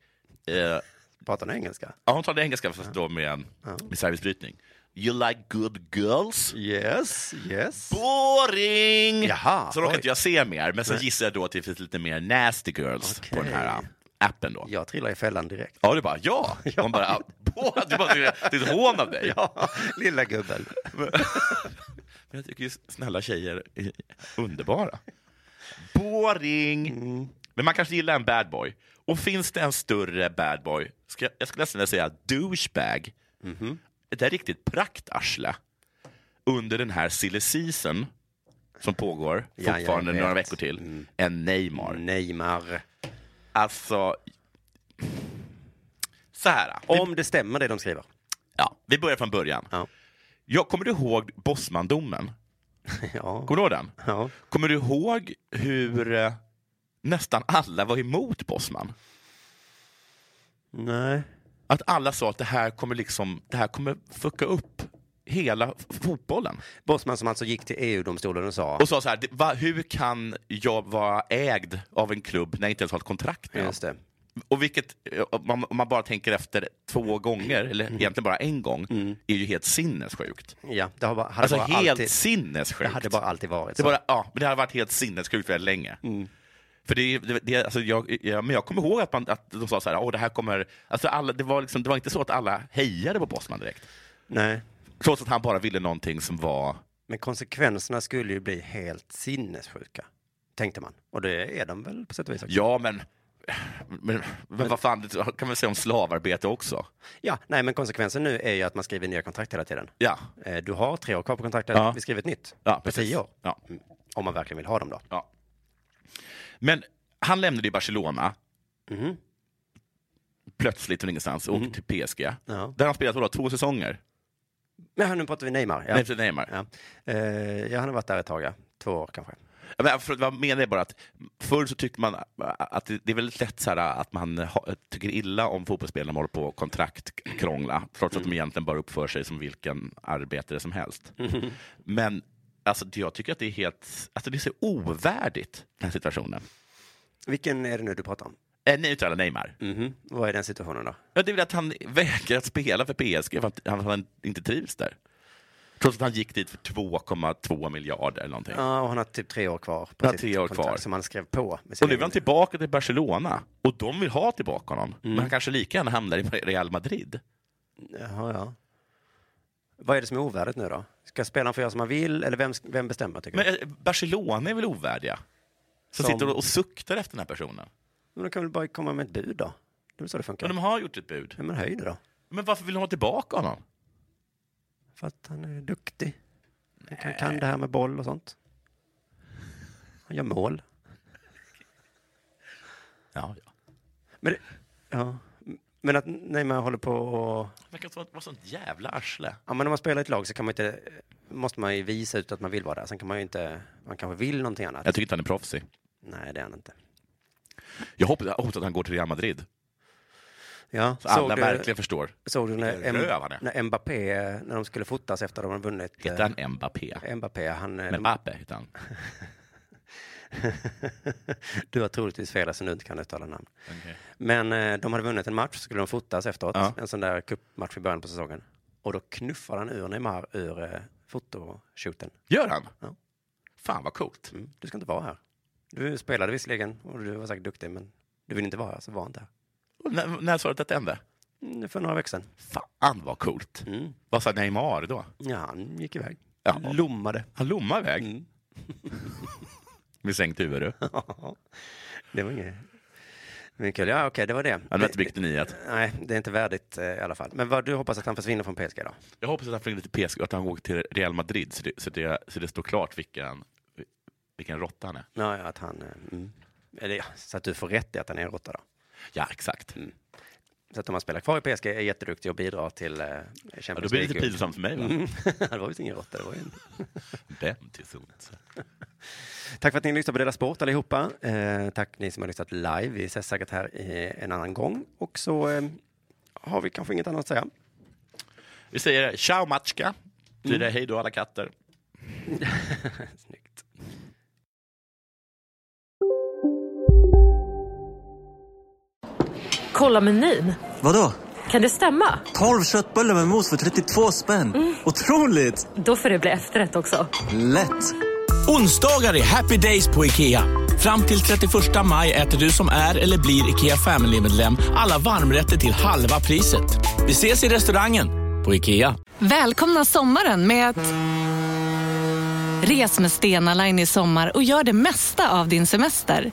[SPEAKER 8] Eh,
[SPEAKER 7] Pratar hon engelska?
[SPEAKER 8] Ja, hon talade engelska fast då med, en- med servicebrytning. You like good girls?
[SPEAKER 7] Yes, yes.
[SPEAKER 8] Boring!
[SPEAKER 7] Jaha,
[SPEAKER 8] så råkade
[SPEAKER 7] oj.
[SPEAKER 8] inte jag se mer, men så
[SPEAKER 7] Nej.
[SPEAKER 8] gissar jag då att det finns lite mer nasty girls på den här
[SPEAKER 7] Okej.
[SPEAKER 8] appen då.
[SPEAKER 7] Jag trillar i fällan direkt.
[SPEAKER 8] *laughs* Ja, du bara
[SPEAKER 7] *laughs*
[SPEAKER 8] ja. Hon bara, "Ah, boah." du bara, det är ett hån av dig.
[SPEAKER 7] Ja, lilla gubben.
[SPEAKER 8] Men jag tycker ju snälla tjejer är underbara. Mm. Boring! Men man kanske gillar en bad boy. Och finns det en större bad boy, ska jag, jag skulle nästan vilja säga douchebag, det är riktigt praktarsle under den här silly season som pågår
[SPEAKER 7] Ja, jag
[SPEAKER 8] fortfarande
[SPEAKER 7] vet.
[SPEAKER 8] några veckor till, än Neymar.
[SPEAKER 7] Neymar.
[SPEAKER 8] Alltså, så här.
[SPEAKER 7] Om det stämmer det de skriver.
[SPEAKER 8] Ja, vi börjar från början. Jag kommer du ihåg Bosmandomen?
[SPEAKER 7] Ja.
[SPEAKER 8] Kommer du ihåg den?
[SPEAKER 7] Ja.
[SPEAKER 8] Kommer du ihåg hur eh, nästan alla var emot Bosman?
[SPEAKER 7] Nej.
[SPEAKER 8] Att alla sa att det här kommer liksom, det här kommer fucka upp hela f- fotbollen.
[SPEAKER 7] Bosman som alltså gick till EU-domstolen och sa...
[SPEAKER 8] Och sa så här, det- va, hur kan jag vara ägd av en klubb när jag inte ens har ett kontrakt med
[SPEAKER 7] Just
[SPEAKER 8] dem? Och vilket, eh, om man, om man bara tänker efter två gånger, eller
[SPEAKER 7] Mm.
[SPEAKER 8] egentligen bara en gång, är ju helt sinnessjukt.
[SPEAKER 7] Ja, det har bara, Mm. hade
[SPEAKER 8] Alltså
[SPEAKER 7] bara
[SPEAKER 8] helt
[SPEAKER 7] alltid,
[SPEAKER 8] sinnessjukt.
[SPEAKER 7] Det hade bara alltid varit
[SPEAKER 8] Det,
[SPEAKER 7] så. Mm.
[SPEAKER 8] bara, ja, men det hade varit helt sinnessjukt väldigt länge. För det, är- det, det, alltså jag, jag, men jag kommer ihåg att, man, att de sa så här, Åh, det här kommer... Alltså alla, det, var liksom, det var inte så att alla hejade på Bosman direkt.
[SPEAKER 7] Nej.
[SPEAKER 8] Trots att han bara ville någonting som var...
[SPEAKER 7] Men konsekvenserna skulle ju bli helt sinnessjuka, tänkte man. Och det är de väl på sätt och vis också.
[SPEAKER 8] Ja, men... Men, men vad fan, det kan man säga om slavarbete också?
[SPEAKER 7] Ja, nej men konsekvensen nu är ju att man skriver nya kontrakt hela tiden.
[SPEAKER 8] Ja.
[SPEAKER 7] Eh, Du har tre år kvar på kontraktet,
[SPEAKER 8] Ja.
[SPEAKER 7] vi skriver ett nytt.
[SPEAKER 8] Ja,
[SPEAKER 7] på tio år.
[SPEAKER 8] Ja.
[SPEAKER 7] Mm. Om man verkligen vill ha dem då.
[SPEAKER 8] Ja. Men han lämnade ju Barcelona
[SPEAKER 7] Mhm.
[SPEAKER 8] plötsligt från ingenstans och
[SPEAKER 7] Mm.
[SPEAKER 8] åkte till PSG.
[SPEAKER 7] Ja.
[SPEAKER 8] Där han spelat vadå, två säsonger?
[SPEAKER 7] Men nu pratar vi Neymar. Ja.
[SPEAKER 8] Nej, för Neymar.
[SPEAKER 7] Ja. Eh, ja, han har varit där ett tag, ja. två år kanske.
[SPEAKER 8] Ja, men för, vad menar jag bara att förr så tyckte man äh, att det, det är väldigt lätt så här äh, att man ha, tycker illa om fotbollsspelare som håller på och kontraktkrångla, trots att de egentligen bara uppför sig som vilken arbetare som helst. Men alltså, det- jag tycker att det är helt, alltså det är så ovärdigt, den här situationen.
[SPEAKER 7] Vilken är det nu du pratar om?
[SPEAKER 8] Eh, neutrala Neymar.
[SPEAKER 7] Mhm. Vad är den situationen då?
[SPEAKER 8] Ja, det är väl att han vägrar att spela för PSG för att han, han inte trivs där. Trots att han gick dit för 2,2 miljarder eller någonting.
[SPEAKER 7] Ja, och han har typ tre år kvar på
[SPEAKER 8] Han har
[SPEAKER 7] sitt
[SPEAKER 8] tre år
[SPEAKER 7] kontrakt
[SPEAKER 8] kvar.
[SPEAKER 7] som han skrev på. med sin
[SPEAKER 8] Och nu är
[SPEAKER 7] egen-
[SPEAKER 8] han typ- tillbaka till Barcelona och de vill ha tillbaka honom. Men han kanske lika gärna hamnar i Real Madrid.
[SPEAKER 7] Jaha, ja. Vad är det som är ovärdigt nu då? Ska spelaren få göra som han vill eller vem, vem bestämmer tycker
[SPEAKER 8] Men
[SPEAKER 7] du?
[SPEAKER 8] eh, Barcelona är väl ovärdiga? Som,
[SPEAKER 7] Som-
[SPEAKER 8] sitter och- och suktar efter den här personen.
[SPEAKER 7] Men de kan väl bara komma med ett bud då? Det är väl så det funkar?
[SPEAKER 8] Men de har gjort ett bud.
[SPEAKER 7] Ja, men höj det då.
[SPEAKER 8] Men varför vill de ha tillbaka honom?
[SPEAKER 7] För att han är duktig. Han kan, kan det här med boll och sånt. Han gör mål.
[SPEAKER 8] Ja, ja.
[SPEAKER 7] Men, det- ja. men att Neymar håller på och...
[SPEAKER 8] Han verkar vara vara sånt jävla arsle.
[SPEAKER 7] Ja, men när man spelar i ett lag så kan man inte, måste man ju visa ut att man vill vara där. Sen kan man ju inte... Man kanske vill någonting annat.
[SPEAKER 8] Jag tycker inte han är proffsig.
[SPEAKER 7] Nej, det är han inte.
[SPEAKER 8] Jag hoppas, jag hoppas att han går till Real Madrid.
[SPEAKER 7] Ja,
[SPEAKER 8] Så alla verkligen förstår.
[SPEAKER 7] Såg du när,
[SPEAKER 8] Vilken röv han
[SPEAKER 7] M-
[SPEAKER 8] är.
[SPEAKER 7] när Mbappé, när de skulle fotas efter att de hade vunnit?
[SPEAKER 8] Heter han Mbappé?
[SPEAKER 7] eh, Mbappé, han... eh, de- *laughs*
[SPEAKER 8] Mbappé heter han.
[SPEAKER 7] du har troligtvis fel eftersom du inte kan uttala namn. Men eh, de hade vunnit en match, så skulle de fotas efteråt,
[SPEAKER 8] Ja.
[SPEAKER 7] en sån där cupmatch i början på säsongen. Och då knuffar han ur Neymar ur eh, fotoshooten.
[SPEAKER 8] Gör han?
[SPEAKER 7] Ja.
[SPEAKER 8] Fan vad coolt.
[SPEAKER 7] Mm, du ska inte vara här. Du spelade visserligen och du var säkert duktig, men du vill inte vara här, så var inte här.
[SPEAKER 8] Och När, när sa du att detta hände?
[SPEAKER 7] Mm, för några veckor sedan.
[SPEAKER 8] Fan vad coolt.
[SPEAKER 7] Mm.
[SPEAKER 8] Vad sa Neymar då?
[SPEAKER 7] Ja, han gick iväg.
[SPEAKER 8] Ja.
[SPEAKER 7] Lommade. Mm.
[SPEAKER 8] Han lommade iväg med sänkt huvud. du.
[SPEAKER 7] Ja, det var inget... Men kul. Ja, okej, det var det.
[SPEAKER 8] Han var inte viktig nyhet.
[SPEAKER 7] Nej, det är inte värdigt eh, i alla fall. Men vad du hoppas att han försvinner från PSG då?
[SPEAKER 8] Jag hoppas att han får in lite PSG och att han åker till Real Madrid så det, så det, så det står klart vilken, vilken råtta han är.
[SPEAKER 7] Ja, ja, att han... eh, Mm. Eller ja, så att du får rätt i att han är en råtta då.
[SPEAKER 8] Ja, exakt.
[SPEAKER 7] Så att de han spelar kvar i PSG är jätteduktig och bidrar till eh, Champions League.
[SPEAKER 8] Ja, då blir det lite pinsamt för mig, va?
[SPEAKER 7] *laughs* Mm. det var visst ingen råtta, det var ju en...
[SPEAKER 8] Vem till sot?
[SPEAKER 7] Tack för att ni lyssnade på Dela Sport allihopa. Eh, tack ni som har lyssnat live. Vi ses säkert här eh, en annan gång. Och så eh, har vi kanske inget annat att säga. *laughs*
[SPEAKER 8] Vi säger ciao matchka. Blir det hej då alla katter.
[SPEAKER 11] Kolla menyn.
[SPEAKER 4] Vadå?
[SPEAKER 11] Kan det stämma?
[SPEAKER 4] 12 köttbullar med mos för 32 spänn. Otroligt!
[SPEAKER 11] Då får det bli efterrätt också.
[SPEAKER 4] Lätt!
[SPEAKER 13] Onsdagar är happy days på IKEA. Fram till 31 maj äter du som är eller blir IKEA Family-medlem alla varmrätter till halva priset. Vi ses i restaurangen på IKEA.
[SPEAKER 5] Välkomna sommaren med att... Res med Stena Line i sommar och gör det mesta av din semester.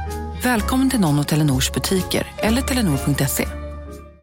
[SPEAKER 1] Välkommen till någon av Telenors butiker eller telenor.se.